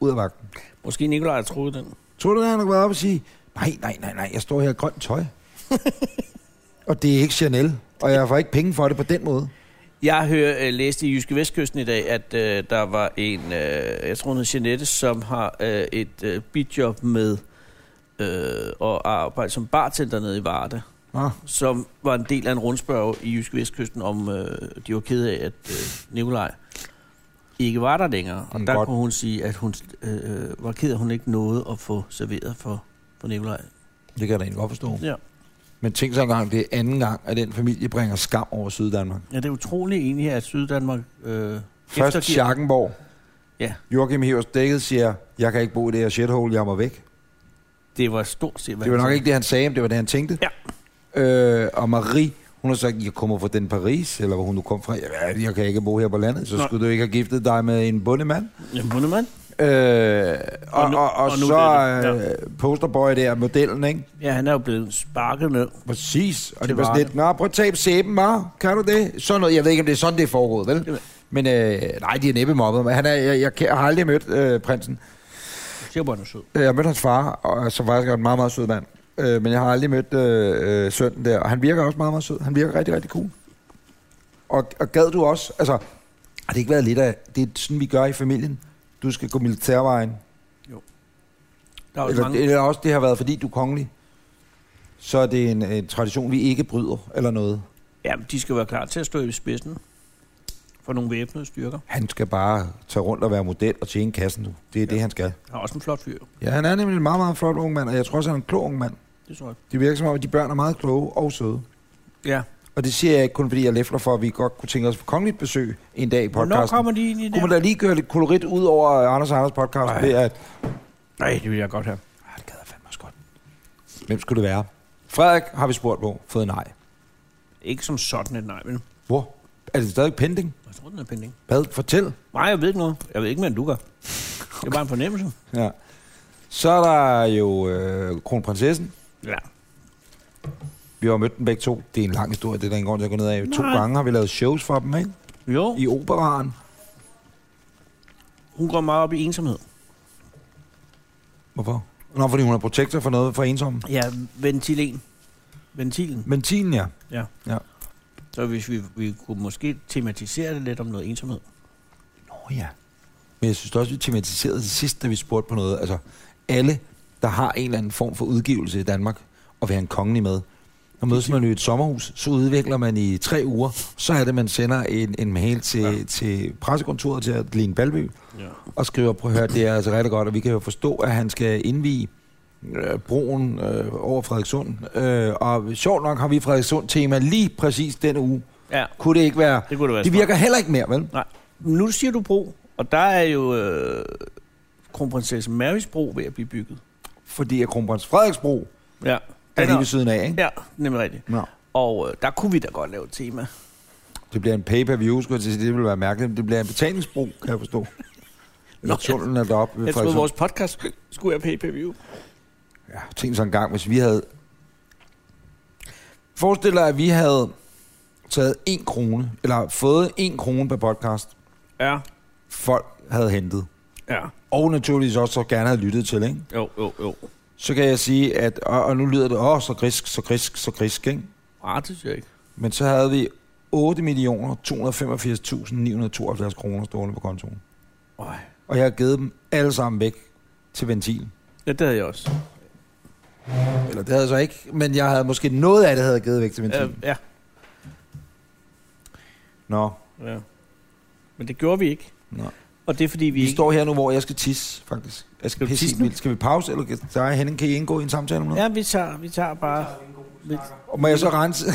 S1: Ud af vagten.
S2: Måske Nikolaj har troet den.
S1: Tror du, at han har været op og sige, nej, nej, nej, nej, jeg står her i grønt tøj. og det er ikke Chanel, og jeg får ikke penge for det på den måde.
S2: Jeg hører, øh, læste i Jyske Vestkysten i dag, at øh, der var en, øh, jeg tror hun hed Jeanette, som har øh, et øh, bidjob med øh, at arbejde som bartender nede i Varde,
S1: Nå,
S2: som var en del af en rundspørg i Jyske Vestkysten, om øh, de var ked af, at øh, Nikolaj ikke var der længere. Og
S1: Mm,
S2: der
S1: godt.
S2: kunne hun sige, at hun øh, var ked af, at hun ikke nåede at få serveret for, for Nikolaj.
S1: det kan jeg da egentlig godt forstå.
S2: Ja.
S1: Men tænk så engang, det er anden gang, at den familie bringer skam over Syddanmark.
S2: ja, det er utroligt egentlig, at Syddanmark... Øh,
S1: Først
S2: eftergiver-
S1: Schackenborg.
S2: Ja.
S1: Joachim Hevers Dækket siger, jeg kan ikke bo i det her shithole, jeg må væk.
S2: Det var stort set... hvad
S1: Det var
S2: han
S1: nok
S2: sagde.
S1: ikke det, han sagde, men det var det, han tænkte.
S2: Ja.
S1: Øh, og Marie, hun har sagt, jeg kommer fra den Paris, eller hvor hun nu kom fra. Jeg, jeg kan ikke bo her på landet, så
S2: Nå.
S1: skulle du ikke have giftet dig med en bondemand.
S2: Jamen, bundemand.
S1: Øh, og, og,
S2: nu-
S1: nu, og, og,
S2: og nu
S1: så
S2: er det
S1: øh, posterboy der, modellen, ikke?
S2: Ja, han er jo blevet sparket ned.
S1: Præcis. Og
S2: Til
S1: det var sådan
S2: Varde.
S1: lidt, nå, prøv at tage sæben, var. Kan du det? Sådan noget. Jeg ved ikke, om det er sådan, det er foregået,
S2: Det ved-
S1: vel? Men øh, nej, de er næppe mobbet. Men Han er, jeg, jeg, jeg har aldrig mødt øh, prinsen.
S2: Se, hvor han er sød.
S1: Øh, Jeg mødte hans far, og, som faktisk er en meget, meget sød mand. Øh, men jeg har aldrig mødt øh, øh, sønnen der, og han virker også meget, meget sød. Han virker rigtig, rigtig cool. Og, og gad du også, altså, har det ikke været lidt af, det er sådan, vi gør i familien. Du skal gå militærvejen.
S2: Der er jo
S1: Eller,
S2: mange...
S1: eller også, det har været, fordi du er kongelig. Så er det en, en tradition, vi ikke bryder, eller noget.
S2: Jamen, de skal være klar til at stå i spidsen for nogle væbnede styrker.
S1: Han skal bare tage rundt og være model og tjene kassen nu. Det er ja. det, han skal.
S2: Der er også en flot fyr.
S1: Ja, han er nemlig en meget, meget flot ung mand, og jeg tror også, han er en klog ung mand.
S2: Det tror jeg.
S1: Det virker som om, at de børn er meget kloge og søde.
S2: Ja.
S1: Og det siger jeg ikke kun, fordi jeg læfler for, at vi godt kunne tænke os på kongeligt besøg en dag i
S2: Hvornår
S1: podcasten.
S2: kommer de ind i
S1: Kunne man
S2: det?
S1: da lige gøre lidt kolorit ud over Anders og Anders podcast
S2: Ej.
S1: ved at...
S2: Nej, det vil jeg godt have.
S1: Hvem skulle det være? Frederik har vi spurgt på, fået nej.
S2: Ikke som sådan et nej, men
S1: Hvor? Er det stadig pending?
S2: jeg tror, den er pending.
S1: Hvad? Fortæl.
S2: Nej, jeg ved ikke noget. Jeg ved ikke, hvad du <laughs> gør. Det er bare en fornemmelse.
S1: Ja. Så er der jo øh, kronprinsessen.
S2: Ja.
S1: Vi har jo mødt dem begge to. Det er en lang historie, det er der ingen grund til at gå ned af. To
S2: Nej.
S1: gange har vi lavet shows for dem, ikke?
S2: Jo,
S1: I operaren.
S2: hun går meget op i ensomhed.
S1: Hvorfor? Nå, fordi hun er protektor for noget for ensomme.
S2: Ja, ventilen. Ventilen,
S1: Ventilen, ja.
S2: ja.
S1: Ja.
S2: Så hvis vi, vi kunne måske tematisere det lidt om noget ensomhed.
S1: Nå ja. Men jeg synes også, vi tematiserede det sidste, da vi spurgte på noget. Altså, alle, der har en eller anden form for udgivelse i Danmark, og vil have en kongelig med, når mødes man i et sommerhus, så udvikler man i tre uger, så er det, man sender en, en mail til, ja. til pressekontoret til Adeline Balby,
S2: Ja.
S1: og skriver, prøv at høre, det er altså rigtig godt, og vi kan jo forstå, at han skal indvige øh, broen øh, over Frederikssund. Øh, og sjovt nok har vi Frederikssund-tema lige præcis denne uge.
S2: Ja,
S1: Kunne det ikke være...
S2: det kunne det være.
S1: Det virker heller ikke mere, vel?
S2: Nej. Nu siger du bro, og der er jo øh, kronprinsesse Marys bro ved at blive bygget.
S1: Fordi at kronprins Frederiksbro
S2: Ja.
S1: er
S2: Den
S1: lige ved siden af, ikke?
S2: Ja, nemlig rigtigt.
S1: Nå.
S2: Og øh, der kunne vi da godt lave et tema.
S1: Det bliver en pay-per-view, skulle jeg til at sige. Det vil være mærkeligt. men Det bliver en betalingsbro, kan jeg
S2: <laughs>
S1: forstå. Når
S2: jeg-
S1: tunnelen er deroppe.
S2: Jeg troede, vores podcast skulle være pay-per-view.
S1: Ja, tænk så en gang, hvis vi havde... Forestil dig, at vi havde taget en krone, eller fået en krone per podcast,
S2: Ja.
S1: folk havde hentet.
S2: Ja.
S1: Og naturligvis også så gerne havde lyttet til, ikke?
S2: Jo, jo, jo.
S1: Så kan jeg sige, at... Og, og nu lyder det, åh, så grisk, så grisk, så grisk, ikke?
S2: Ah, det synes jeg ikke.
S1: Men så havde vi 8.285.972 kroner stående på kontoen.
S2: Øj.
S1: Og jeg har givet dem alle sammen væk til ventilen.
S2: Ja, det havde jeg også.
S1: Eller det havde jeg så ikke, men jeg havde måske noget af det, havde jeg givet væk til ventilen.
S2: Øh, ja.
S1: Nå,
S2: ja. Men det gjorde vi ikke.
S1: Nå.
S2: Og det er fordi, vi,
S1: vi
S2: ikke...
S1: står her nu, hvor jeg skal tisse, faktisk. Jeg skal,
S2: Skal du
S1: pisse
S2: tisse
S1: helt
S2: nu?
S1: vildt. Skal vi pause, eller kan, dig, Henning, kan I indgå i en samtale om noget?
S2: Ja, vi tager, vi tager bare...
S1: Og må jeg så rense?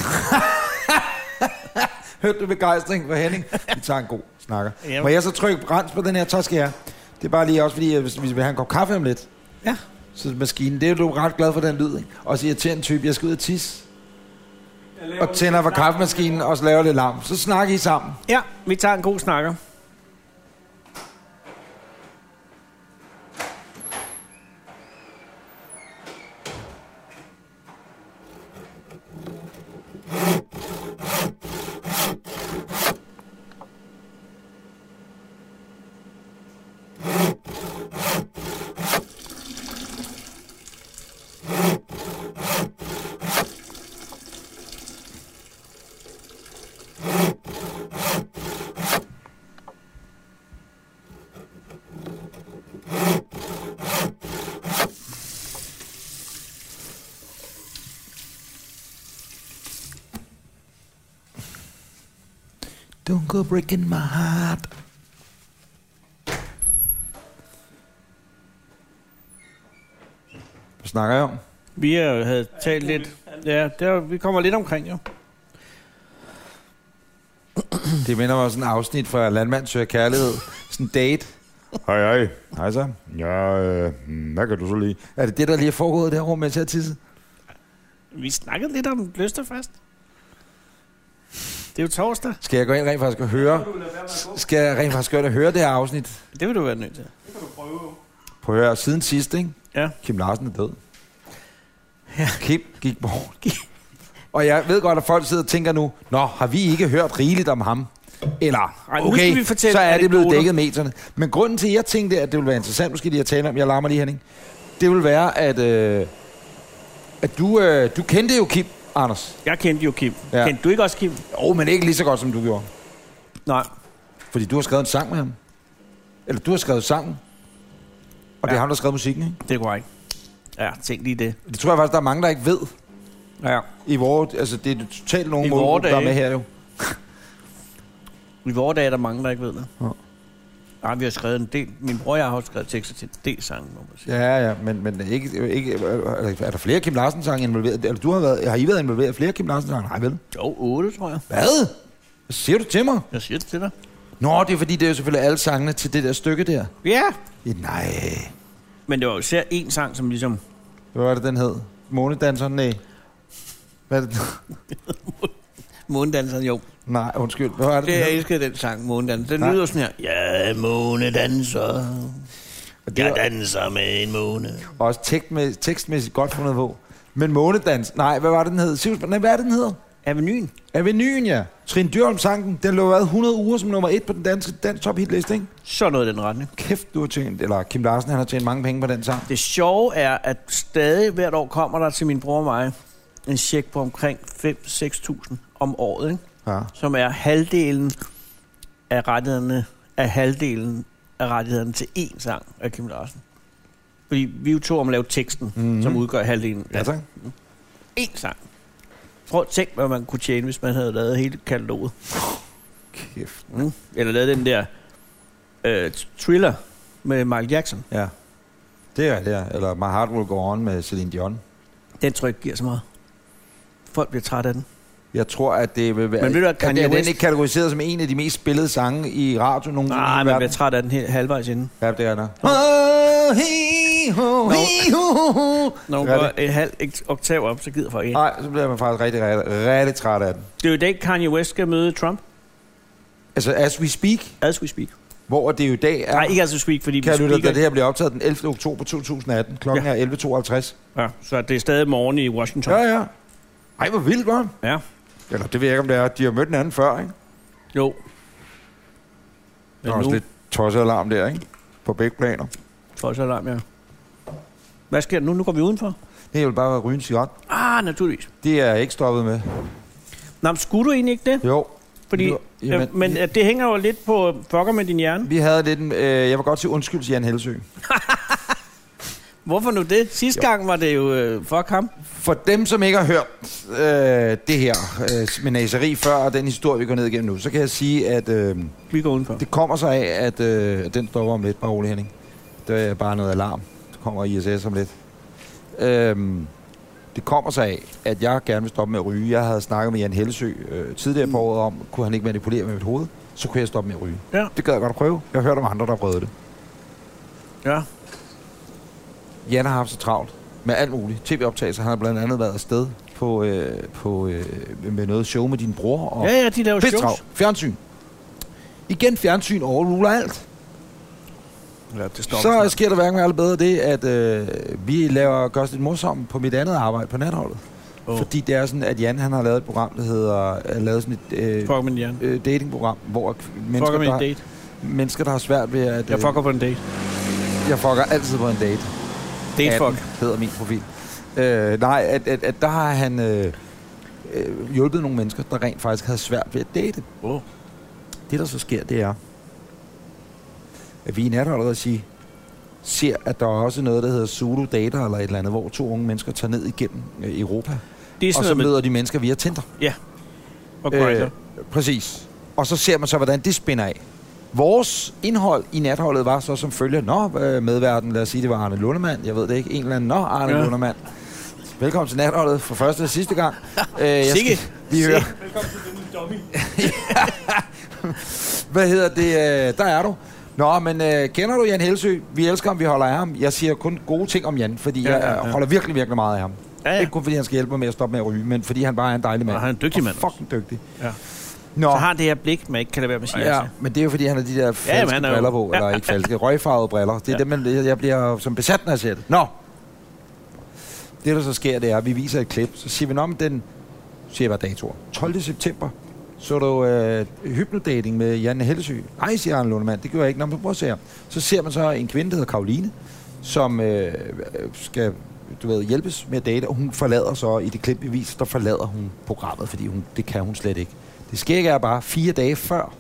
S1: <laughs> Hørte du begejstring fra Henning? Vi tager en god snakker.
S2: Ja.
S1: Må jeg så trykke rens på den her taske her? Det er bare lige også fordi, at hvis vi vil have en kop kaffe om lidt,
S2: Ja.
S1: så maskinen, det er du ret glad for den lyd, ikke? Og så irriterende type, jeg skal ud og tisse, og tænder for kaffemaskinen, og så laver det larm. Så snakker I sammen.
S2: Ja, vi tager en god snakker.
S1: Don't go breaking my heart. Hvad snakker jeg om?
S2: Vi øh, havde talt lidt... Ja, der, vi kommer lidt omkring, jo.
S1: Det minder mig om sådan en afsnit fra Landmand Søger Kærlighed. Sådan en date. Hej, hej. Hej så. Ja, øh, hvad kan du så lige? Er det det, der lige er foregået i det her rum, mens jeg tissede?
S2: Vi snakkede lidt om lysterfest. Det er jo torsdag.
S1: Skal jeg gå ind rent faktisk og høre? Skal jeg rent faktisk gå ind og høre det her afsnit?
S2: Det vil du være nødt til.
S1: Prøv at høre, siden sidst, ikke?
S2: Ja.
S1: Kim Larsen er død. Ja. Kim gik bort. Og jeg ved godt, at folk sidder og tænker nu, Nå, har vi ikke hørt rigeligt om ham? Eller,
S2: Ej, nu
S1: okay,
S2: skal vi fortælle
S1: så er det blevet
S2: anekdoter.
S1: dækket i medierne. Men grunden til, at jeg tænkte, at det ville være interessant, måske lige at tale om, jeg larmer lige Henning, det ville være, at, øh, at du, øh, du kendte jo Kim, Anders.
S2: Jeg kendte jo Kim.
S1: Ja.
S2: Ja. Kendte du ikke også Kim?
S1: Jo, men ikke lige så godt, som du gjorde.
S2: Nej.
S1: Fordi du har skrevet en sang med ham. Eller du har skrevet sangen. Og ja. det er
S2: Ja.
S1: ham, der har skrevet musikken, ikke?
S2: Det går ikke. Ja, tænk lige det.
S1: Det tror jeg faktisk, der er mange, der ikke ved.
S2: Ja.
S1: I vores, altså det er totalt nogen
S2: I vore
S1: målgruppe, der er
S2: dage.
S1: med her jo.
S2: I vores dage er der mange, der ikke ved det.
S1: Ja.
S2: Ja. Nej, vi har skrevet en del. Min bror og jeg har også skrevet tekster til en del sange, må man sige.
S1: Ja, ja, men, men ikke, ikke, er der flere Kim Larsen-sange involveret? Eller du har, været, har I været involveret i flere Kim Larsen-sange? Nej, vel?
S2: Jo, otte, tror jeg.
S1: Hvad? Hvad siger du til mig?
S2: Jeg siger det til dig.
S1: Nå, det er fordi, det er jo selvfølgelig alle sangene til det der stykke der.
S2: Ja.
S1: Ja, nej.
S2: Men det var jo især én sang, som ligesom...
S1: Hvad var det, den hed? Månedanser? Nej. Hvad er det?
S2: Månedanseren, jo.
S1: <laughs> Nej, undskyld. Hvad var det?
S2: Det, jeg
S1: det,
S2: elskede den sang, Månedans. Den
S1: Nej.
S2: lyder sådan her. Jeg er månedanser.
S1: det,
S2: Jeg
S1: det
S2: danser med en måne.
S1: var også tekstmæssigt, tekstmæssigt godt fundet på. Men Månedans? Nej, hvad var det, den hed? Sivs, nej, hvad er det, den hedder?
S2: Avenyen.
S1: Avenyen, ja. Trine Dyrholm-sangen, den lå været 100 uger som nummer et på den danske dansk top hitliste, ikke?
S2: Så noget i den retning.
S1: Kæft, du har tjent, eller Kim Larsen, han har tjent mange penge på den sang.
S2: Det sjove er, at stadig hvert år kommer der til min bror og mig en check på omkring 5-6.000 om året, ikke?
S1: Ja.
S2: som er halvdelen af rettighederne af halvdelen af rettighederne til én sang af Kim Larsen. Fordi vi er jo to om at lave teksten, mm-hmm. som udgør halvdelen
S1: Ja,
S2: af
S1: tak.
S2: én sang. Prøv at tænk, hvad man kunne tjene, hvis man havde lavet hele kataloget.
S1: Kæft.
S2: Mm? Eller lavet den der øh, thriller med Michael Jackson.
S1: Ja. Det er det, er. eller My Heart Will Go On med Celine Dion.
S2: Den tror jeg ikke giver så meget. Folk bliver trætte af den.
S1: Jeg tror, at det vil være...
S2: Men ved du hvad,
S1: at
S2: Kanye
S1: er den
S2: West-
S1: ikke kategoriseret som en af de mest spillede sange i radio nogensinde
S2: Nej,
S1: i
S2: man
S1: verden?
S2: bliver træt af den helt halvvejs inden.
S1: Ja, det er der. Oh, he, ho, he, ho, ho.
S2: Når hun
S1: Hvad er
S2: går en halv et oktav op, så gider folk ikke.
S1: Nej, så bliver man faktisk rigtig, rigtig, rigtig træt af den.
S2: Det er jo i dag, Kanye West skal møde Trump.
S1: Altså, as we speak,
S2: As we speak.
S1: hvor det jo i dag er...
S2: Nej, ikke as we speak, fordi
S1: kan
S2: vi
S1: jeg lytte,
S2: speaker-
S1: at det her bliver optaget den 11. oktober 2018. Klokken ja. er 11.52.
S2: Ja, så det er stadig morgen i Washington.
S1: Ja, ja. Ej, hvor vildt, var.
S2: ja.
S1: Eller det ved jeg ikke, om det er. De har mødt hinanden før, ikke?
S2: Jo.
S1: Der
S2: Men
S1: er også
S2: nu,
S1: lidt tosset alarm der, ikke? På begge planer.
S2: lidt... alarm, ja. Hvad sker der nu? Nu går vi udenfor.
S1: Det er jo bare at ryge en cigaret.
S2: Ah, naturligvis.
S1: Det er jeg ikke stoppet med.
S2: Nå, men skulle du egentlig ikke det?
S1: Jo.
S2: Fordi,
S1: Jo, jamen,
S2: jamen, men øh, det hænger jo lidt på øh, fucker med din hjerne.
S1: Vi havde lidt en, øh, jeg vil godt sige undskyld til Jan Helsø.
S2: Hvorfor nu det? Sidste gang var det jo øh, fuck ham.
S1: For dem, som ikke har hørt øh, det her øh, med naseri før, og den historie, vi går ned igennem nu, så kan jeg sige, at øh,
S2: Vi går udenfor.
S1: det kommer sig af, at øh, den stopper om lidt, bare rolig Henning. Det er bare noget alarm. Så kommer ISS om lidt. Øhm, det kommer sig af, at jeg gerne vil stoppe med at ryge. Jeg havde snakket med Jan Hellesø øh, tidligere på året om, kunne han ikke manipulere med mit hoved, så kunne jeg stoppe med at ryge.
S2: Ja.
S1: Det gad jeg godt at prøve. Jeg har hørt om andre, der har prøvet det.
S2: Ja.
S1: Jan har haft så travlt med alt muligt. TV-optagelser. Han har blandt andet været afsted på, øh, på, øh, med noget show med din bror. Og
S2: ja, ja, de laver
S1: Pisse
S2: shows.
S1: travlt. Fjernsyn. Igen fjernsyn overruler alt.
S2: Ja, det står
S1: Så sker der hverken alt bedre det, at øh, vi laver gør os lidt morsomme på mit andet arbejde på natholdet. Oh.
S2: Åh.
S1: Fordi det er sådan, at Jan han har lavet et program, der hedder, har lavet sådan et øh,
S2: Fuck med din hjerne.
S1: øh, datingprogram, hvor kv-
S2: Fucker
S1: mennesker
S2: med
S1: der, har-
S2: en date.
S1: mennesker, der har svært ved at...
S2: Jeg
S1: øh,
S2: fucker på en date.
S1: jeg fucker altid på en date.
S2: Date
S1: 18
S2: fuck.
S1: hedder min profil. Øh, nej, at, at, at der har han øh, øh, hjulpet nogle mennesker, der rent faktisk havde svært ved at date.
S2: Oh.
S1: Det, der så sker, det er, at vi i nat allerede siger, ser, at der er også noget, der hedder Zulu Data eller et eller andet, hvor to unge mennesker tager ned igennem øh, Europa,
S2: Det er
S1: og
S2: sådan
S1: så
S2: noget med...
S1: møder de mennesker via Tinder. Øh,
S2: Og Grindr.
S1: præcis. Og så ser man så, hvordan det spænder af. Vores indhold i natholdet var så som følger, Nå, øh, medverden, lad os sige, det var Arne Lundemand, jeg ved det ikke, en eller anden, Nå, Arne ja.
S2: Ja.
S1: Lundemand. Velkommen til natholdet for første og sidste
S2: <laughs>
S1: gang. Øh, jeg
S2: Sikke.
S1: lige høre,
S3: Velkommen til den nye dummy.
S1: hvad hedder det, øh, der er du. Nå, men øh, kender du Jan Helsø? Vi elsker ham, vi holder af ham. Jeg siger kun gode ting om Jan, fordi ja,
S2: Ja,
S1: ja, ja.
S2: ja,
S1: jeg
S2: ja.
S1: holder virkelig, virkelig meget af ham.
S2: Ja, ja.
S1: Ikke kun fordi han skal hjælpe mig med at stoppe med at ryge, men fordi han bare er en dejlig mand.
S2: Og han er en dygtig
S1: Og
S2: mand også.
S1: Fucking dygtig.
S2: Ja.
S1: Nå,
S2: Så har det her blik, man ikke kan lade være med at sige.
S1: Ja,
S2: altså.
S1: men det er jo fordi, han har de der falske ja,
S2: han er jo-
S1: briller på,
S2: Ja.
S1: eller ikke falske, røgfarvede briller. Det er ja.
S2: Ja.
S1: dem, man, jeg bliver som besat, når jeg ser det. Nå! Det, der så sker, det er, at vi viser et klip, så siger vi, om den, siger jeg bare datoer, 12. september, så du øh, hypnodating med Janne Hellesø. Nej, siger Arne Lundemand, det gjorde jeg ikke. Nå, men prøv at se her. Så ser man så en kvinde, der hedder Karoline, som øh, skal du ved, hjælpes med at date, og hun forlader så, i det klip vi viser, der forlader hun programmet, fordi hun, det kan hun slet ikke. Det sker ikke er bare fire dage før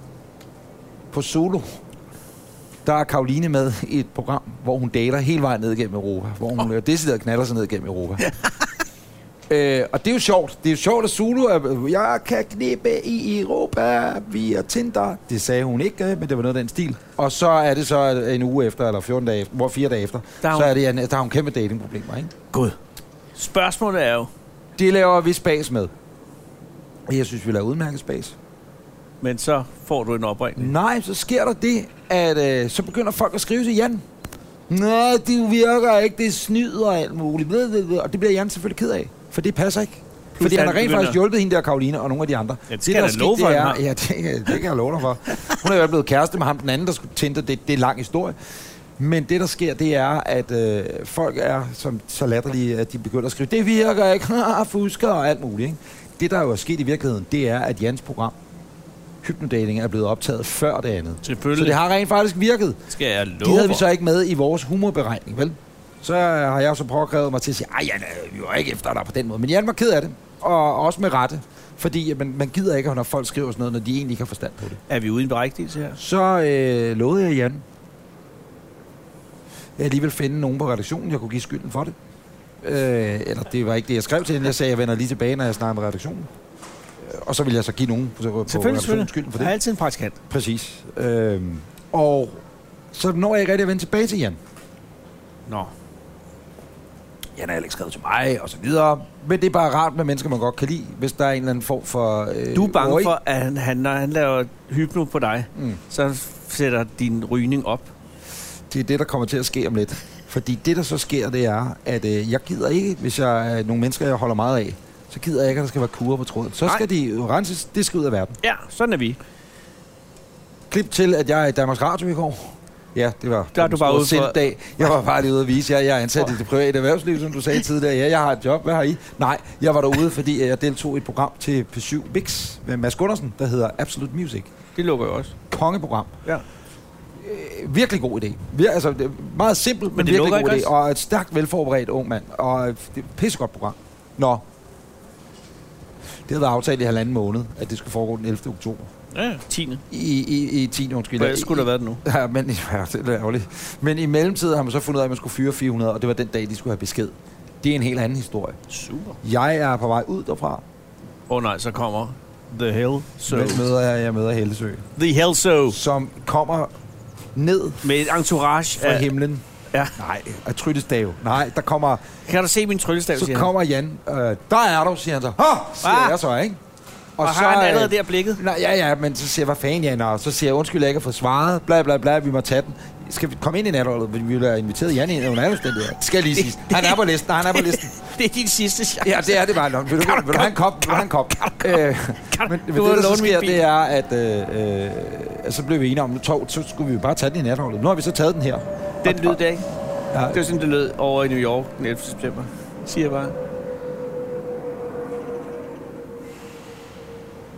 S1: på Solo, der er Karoline med i et program, hvor hun dater hele vejen ned gennem Europa, hvor hun oh. decideret knaller sig ned gennem Europa. <laughs> Øh, og det er jo sjovt. Det er jo sjovt, at Zulu er, jeg kan knippe i Europa via Tinder. Det sagde hun ikke, øh, men det var noget af den stil. Og så er det så at en uge efter, eller 14 dage efter, hvor fire dage efter,
S2: Der er
S1: så
S2: hun-
S1: er det, at der har hun kæmpe datingproblemer, ikke?
S2: God. Spørgsmålet er jo,
S1: Det laver vi spas med. Og Jeg synes, vi laver udmærket spas.
S2: men så får du en opringning.
S1: Nej, så sker der det, at øh, så begynder folk at skrive til Jan. Nej, det virker ikke, det er snyd og alt muligt. Ved, ved, ved. Og det bliver Jan selvfølgelig ked af, for det passer ikke. Fordi han
S4: han
S1: har rent
S4: begynder-
S1: faktisk hjulpet hende der, Karoline, og nogle af de andre.
S4: Ja, det skal jeg da love for,
S1: det
S4: han
S1: er,
S4: har.
S1: ja, det, kan- det kan jeg love dig for. Hun er jo blevet kæreste med ham, den anden, der skulle tænde det. Det er en lang historie. Men det, der sker, det er, at øh, folk er som, så latterlige, at de begynder at skrive, det virker ikke, <laughs> fusker og alt muligt. Ikke? Det, der jo er sket i virkeligheden, det er, at Jans program, Hypnodating, er blevet optaget før det andet. Så
S4: Selvfølgelig.
S1: det har rent faktisk virket.
S2: Mm.
S4: skal jeg love
S1: De havde vi
S4: for.
S1: så ikke med i vores humorberegning, vel? Så har jeg så påkrævet mig til at sige, ej, Jan, øh, vi var ikke efter dig på den måde. Men Jan var ked af det, og også med rette. Fordi at man, man gider ikke, når folk skriver sådan noget, når de egentlig ikke har forstand på det.
S2: Er vi ude i en berægtigelse her?
S1: Så øh, lovede jeg Jan, jeg alligevel finde nogen på redaktionen, jeg kunne give skylden for det. Øh, eller det var ikke det, jeg skrev til hende. Jeg sagde, jeg vender lige tilbage, når jeg snakker med redaktionen. Øh, Og så vil jeg så give nogen på, på
S2: Selvfølgelig,
S1: redaktionen skylden
S2: selvfølgelig.
S1: for
S2: Der
S1: det.
S2: er altid en praktikant.
S1: Præcis. Øhm, og så når jeg ikke rigtig at vende tilbage til Jan.
S2: Nå.
S1: Jan har heller ikke skrevet til mig, og så videre. Men det er bare rart med mennesker, man godt kan lide, hvis der er en eller anden form for... Øh,
S2: Du er bange
S1: ori-
S2: for, at han, han, når han laver hypno på dig,
S1: Mm.
S2: så sætter din rygning op.
S1: Det er det, der kommer til at ske om lidt. Fordi det, der så sker, det er, at øh, jeg gider ikke, hvis jeg er nogle mennesker, jeg holder meget af, så gider jeg ikke, at der skal være kurer på tråden. Så
S2: Nej.
S1: skal de jo renses, det skal ud af verden.
S2: Ja, sådan er vi.
S1: Klip til, at jeg er i Danmarks Radio i går. Ja, det var
S2: Der er du bare ude for-
S1: dag. Jeg var bare lige ude at vise jer, jeg er ansat i det private erhvervsliv, som du sagde tidligere. Ja, jeg har et job. Hvad har I? Nej, jeg var derude, fordi jeg deltog i et program til P7 Mix med Mads Gundersen, der hedder Absolute Music.
S2: Det lukker jo også.
S1: kongeprogram.
S2: Ja.
S1: Øh, virkelig god idé. Vir- altså, det er meget simpelt, men, men
S2: det
S1: virkelig
S2: lukker
S1: god
S2: ikke
S1: idé. Og et stærkt velforberedt ung mand. Og øh, det er et pissegodt program. Nå. Det havde været aftalt i halvanden måned, at det skulle foregå den 11. oktober.
S4: Ja, ja.
S2: 10.
S1: I, i, i 10. undskyld.
S2: Hvor ellers skulle der have været det nu?
S1: Ja, men, <laughs> ja, det er ærgerligt. men i mellemtiden har man så fundet ud af, at man skulle fyre 400, og det var den dag, de skulle have besked. Det er en helt anden historie.
S4: Super.
S1: Jeg er på vej ud derfra.
S2: Åh oh, nej, så kommer The Hell So.
S1: Hvem møder jeg? Jeg møder Hellesø,
S2: The Hell So.
S1: som kommer ned
S2: Med et entourage
S1: fra
S2: af...
S1: himlen.
S2: Ja.
S1: Nej, af tryllestave. Nej, der kommer
S2: Kan du se min tryllestav,
S1: Så
S2: siger han.
S1: kommer Jan. Øh, der er du, siger han så. Hå, siger
S2: Ah.
S1: ah. jeg så, ikke?
S2: Og, og
S1: så,
S2: har han
S1: øh,
S2: allerede der blikket?
S1: Nej, ja, ja, men så siger jeg, hvad fanden, Jan? Og så siger jeg, undskyld, jeg ikke har fået svaret. Bla, bla, bla, vi må tage den. Skal vi komme ind i natholdet? Vi vil have inviteret Jan ind under alle omstændigheder. Det Skal jeg lige sige. Han er på listen, han er på listen.
S2: Det er din sidste chance.
S1: <laughs> Ja, det er det bare. Nå, Vil du, vil du have en kop? Vil du have en kop? Øh, men men det,
S2: du
S1: der så
S2: låne min
S1: sker,
S2: bil?
S1: det er, at øh, øh, så blev vi enige om, tog, så skulle vi jo bare tage den i natholdet. Nu har vi så taget den her.
S2: Den lyd der, ikke?
S1: Ja.
S2: Det var sådan, det lød over i New York den 11. september. Siger jeg bare.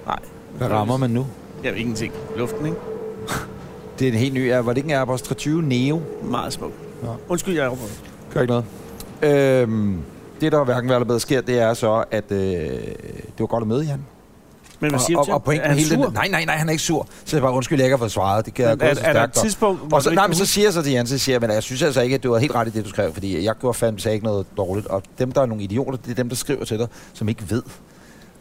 S2: Nej.
S1: Hvad rammer man nu?
S2: Jeg ved ingenting. Luften, ikke?
S1: Det er en helt ny, ja, var det ikke en Airbus 320 Neo?
S2: Meget smuk.
S1: Ja.
S2: Undskyld, jeg er over.
S1: Gør ikke noget. Øhm, det, der hverken værre eller bedre sker, det er så, at øh, det var godt at møde Jan.
S2: Men hvad
S1: Og,
S2: siger du
S1: og,
S2: til
S1: og
S2: ham? Er
S1: pointen
S2: han
S1: hele
S2: sur?
S1: den... Nej, nej, nej, han er ikke sur. Så jeg bare, undskyld, jeg ikke har fået svaret. Det kan jeg
S2: Men er,
S1: gå så
S2: er der et
S1: stærkt om.
S2: tidspunkt, hvor
S1: og så,
S2: du
S1: nej,
S2: ikke
S1: men så
S2: kan
S1: siger jeg så til Jan, så siger jeg, men jeg synes altså ikke, at du var helt ret i det, du skrev, fordi jeg gjorde fandme sagde ikke noget dårligt, og dem, der er nogle idioter, det er dem, der skriver til dig, som ikke ved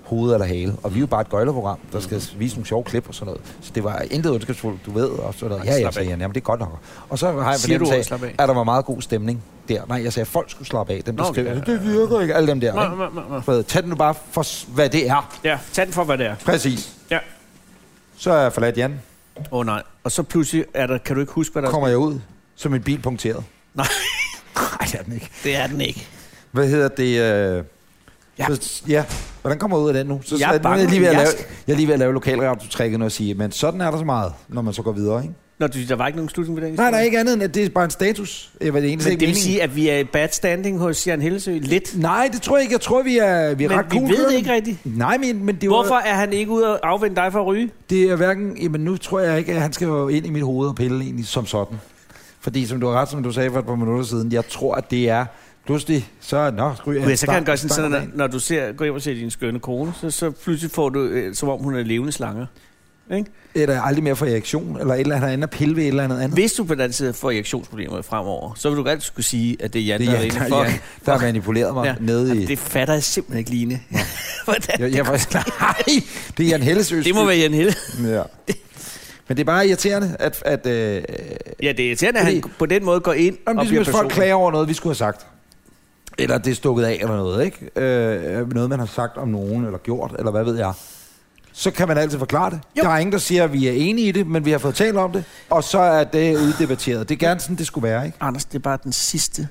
S1: hoved eller hale. Og vi er jo bare et gøjlerprogram, der skal
S2: Mhm.
S1: vise nogle sjove klip og sådan noget. Så det var intet ondskabsfuldt, du ved, og sådan noget.
S2: Ej,
S1: Ja, ja,
S2: slap
S1: sagde
S2: af.
S1: Jan, jamen det er godt nok. Og så har jeg
S2: Siger du
S1: fornemmelse
S2: også, slap af?
S1: af, at der var meget god stemning der. Nej, jeg sagde, at folk skulle slappe af, dem der
S2: Nå,
S1: skriver.
S2: ja.
S1: Det virker ikke, alle dem der.
S2: Nå,
S1: ikke?
S2: nå, nå, nå.
S1: Du ved, Tag den nu bare for, s- hvad det er.
S2: Ja, tag den for, hvad det er.
S1: Præcis.
S2: Ja.
S1: Så er jeg forladt Jan.
S2: Åh oh, nej. Og så pludselig er der, kan du ikke huske, hvad der
S1: kommer jeg ud, som en bil punkteret.
S2: Nej.
S1: <laughs> Nej, det er den ikke.
S2: Det er den ikke.
S1: Hvad hedder det? Øh...
S2: Ja.
S1: Ja. Så, ja. Hvordan kommer jeg ud af den nu? Så,
S2: Jeg
S1: så,
S2: er
S1: nu er
S2: bange.
S1: jeg lige ved at
S2: Jeg
S1: lave,
S2: skal-
S1: jeg er lige ved at lave lokalradio-trækket og sige, men sådan er der så meget, når man så går videre, ikke?
S2: Nå, du, der var ikke nogen slutning på den?
S1: Nej, der er ikke andet end, at det er bare en status. Jeg var det egentlig
S2: Men
S1: ikke
S2: det vil
S1: meningen.
S2: sige, at vi er i bad standing hos Jan Hellesø lidt.
S1: Nej, det tror jeg ikke. Jeg tror, vi er, vi er
S2: Men
S1: ret
S2: vi
S1: cool
S2: ved det
S1: kørende.
S2: ikke rigtigt.
S1: Nej, men, men det,
S2: Hvorfor
S1: Var,
S2: er han ikke ude og afvende dig for at ryge?
S1: det er hverken... Jamen, nu tror jeg ikke, at han skal jo ind i mit hoved og pille egentlig som sådan. Fordi, som du har ret, som du sagde for et par minutter siden, jeg tror, at det er... Pludselig, så... Nå, ryger
S2: Ja, så kan han gøre sådan,
S1: start-
S2: sådan at når du ser, går hjem og ser din skønne kone, så, så pludselig får du, øh, som om hun er levende slanger. Ikke?
S1: eller aldrig mere få erektion, eller et eller andet andet pille ved et eller andet andet.
S2: Hvis du på den anden side får erektionsproblemer fremover, så vil du altid skulle sige, at det er Jan,
S1: Det er
S2: der er
S1: Jan,
S2: inde
S1: der,
S2: for.
S1: Jan, der har manipuleret mig
S2: Ja.
S1: ja. nede i...
S2: Det fatter jeg simpelthen ikke, Line. <laughs> Hvordan?
S1: Jeg, jeg, var- nej, det er Jan Hellesøs.
S2: Det må være Jan Helle.
S1: skyld. Ja. Men det er bare irriterende, at... at øh,
S2: Ja, det er irriterende, at han
S1: Fordi-
S2: på den måde går ind
S1: om
S2: og
S1: ligesom,
S2: bliver
S1: hvis folk
S2: personlig.
S1: klager over noget, vi skulle have sagt. Eller det er stukket af eller noget, ikke? Øh, noget, man har sagt om nogen, eller gjort, eller hvad ved jeg. så kan man altid forklare det.
S2: Jo.
S1: Jo. Der er ingen, der siger, at vi er enige i det, men vi har fået talt om det, og så er det uddebatteret. Det er gerne sådan, det skulle være, ikke?
S2: Anders, det er bare den sidste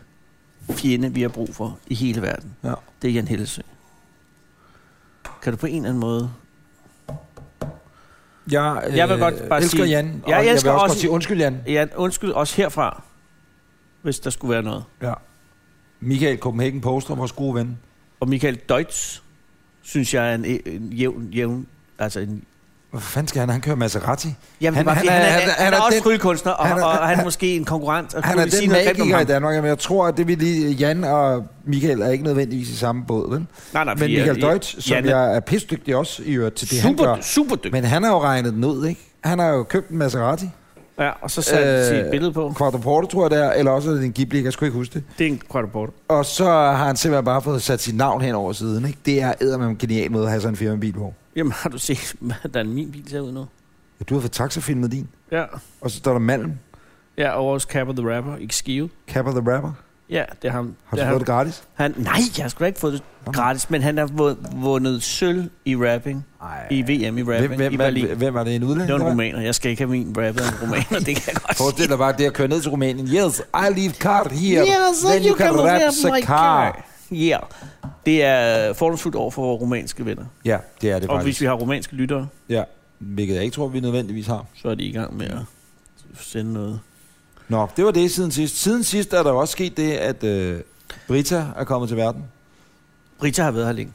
S2: fjende, vi har brug for i hele verden.
S1: Ja.
S2: Det er Jan Hellesø. Kan du på en eller anden måde...
S1: Jeg, øh,
S2: Jeg vil godt bare
S1: elsker
S2: sige-
S1: Jan, og
S2: Jeg
S1: jeg,
S2: elsker
S1: vil også,
S2: også-
S1: godt sige undskyld, Jan.
S2: Ja, undskyld også herfra, hvis der skulle være noget.
S1: Ja. Michael Copenhagen Poster, vores gode ven.
S2: Og Michael Deutsch, synes jeg er en, en jævn, jævn... Altså en,
S1: Hvad fanden skal han? Han kører Maserati.
S2: jamen, han,
S1: Han-
S2: bare,
S1: han
S2: han,
S1: er-
S2: han, er,
S1: han
S2: han,
S1: er-
S2: han
S1: han
S2: er
S1: er
S2: også
S1: den-
S2: tryllekunstner, og,
S1: han er-
S2: og, og han er
S1: han-
S2: måske en konkurrent. Og
S1: Han
S2: kunne
S1: er
S2: vi sige
S1: den
S2: noget grimt om
S1: magiker i
S2: ham?
S1: Danmark, men jeg tror, at det vi lige... øh, Jan og Michael er ikke nødvendigvis i samme båd, vel?
S2: Nej, nej,
S1: Men
S2: fordi,
S1: Michael
S2: øh,
S1: Deutsch, som
S2: Jan er
S1: jeg er pisdygtig også i øvrigt til det, han
S2: super,
S1: gør.
S2: super dygtig.
S1: Men han har jo regnet den ud, ikke? Han har jo købt en Maserati.
S2: Ja, og så satte øh,
S1: Øh,
S2: sit billede på.
S1: Quattroporte, tror jeg det er, eller også er det en Ghibli, jeg skulle ikke huske det.
S2: Det er en quadruport.
S1: Og så har han simpelthen bare fået sat sit navn hen over siden, ikke? Det er eddermame en genial måde at have sådan en firmabil på.
S2: Jamen, har du set, <laughs> hvordan min bil ser ud nu?
S1: Ja, du har fået taxafilmet din,
S2: Ja.
S1: og så står der Malm,
S2: Ja, og også Capper the Rapper i Skive.
S1: Capper the Rapper.
S2: Ja, det er ham.
S1: Har
S2: det
S1: du
S2: er
S1: fået
S2: ham.
S1: det gratis?
S2: Han, nej, jeg har sgu da ikke fået det
S1: Nå.
S2: gratis, men han har vund- vundet sølv i rapping.
S1: Nej.
S2: I VM i rapping
S1: Hvem,
S2: i
S1: hvem,
S2: Berlin.
S1: hvem, hvem var det? En udlænding?
S2: det var en
S1: eller hvad?
S2: rumæner. Jeg skal ikke have min rapper en
S1: <laughs>
S2: rumæner, det kan jeg godt sige.
S1: Forestil dig bare det at køre ned til Rumænien. Yes, I leave car here.
S2: Yeah, so
S1: Then
S2: you can
S1: wrap
S2: rap
S1: the
S2: my car. Ja, yeah. det er fordomsfuldt over for vores rumænske venner.
S1: Ja, det er det
S2: Og hvis
S1: faktisk.
S2: vi har rumænske lyttere,
S1: Ja, hvilket jeg ikke tror, vi nødvendigvis har.
S2: så er de i gang med at sende noget.
S1: Nå, det var det siden sidst. Siden sidst er der jo også sket det, at øh, Brita er kommet til verden.
S2: Rita har været her længe.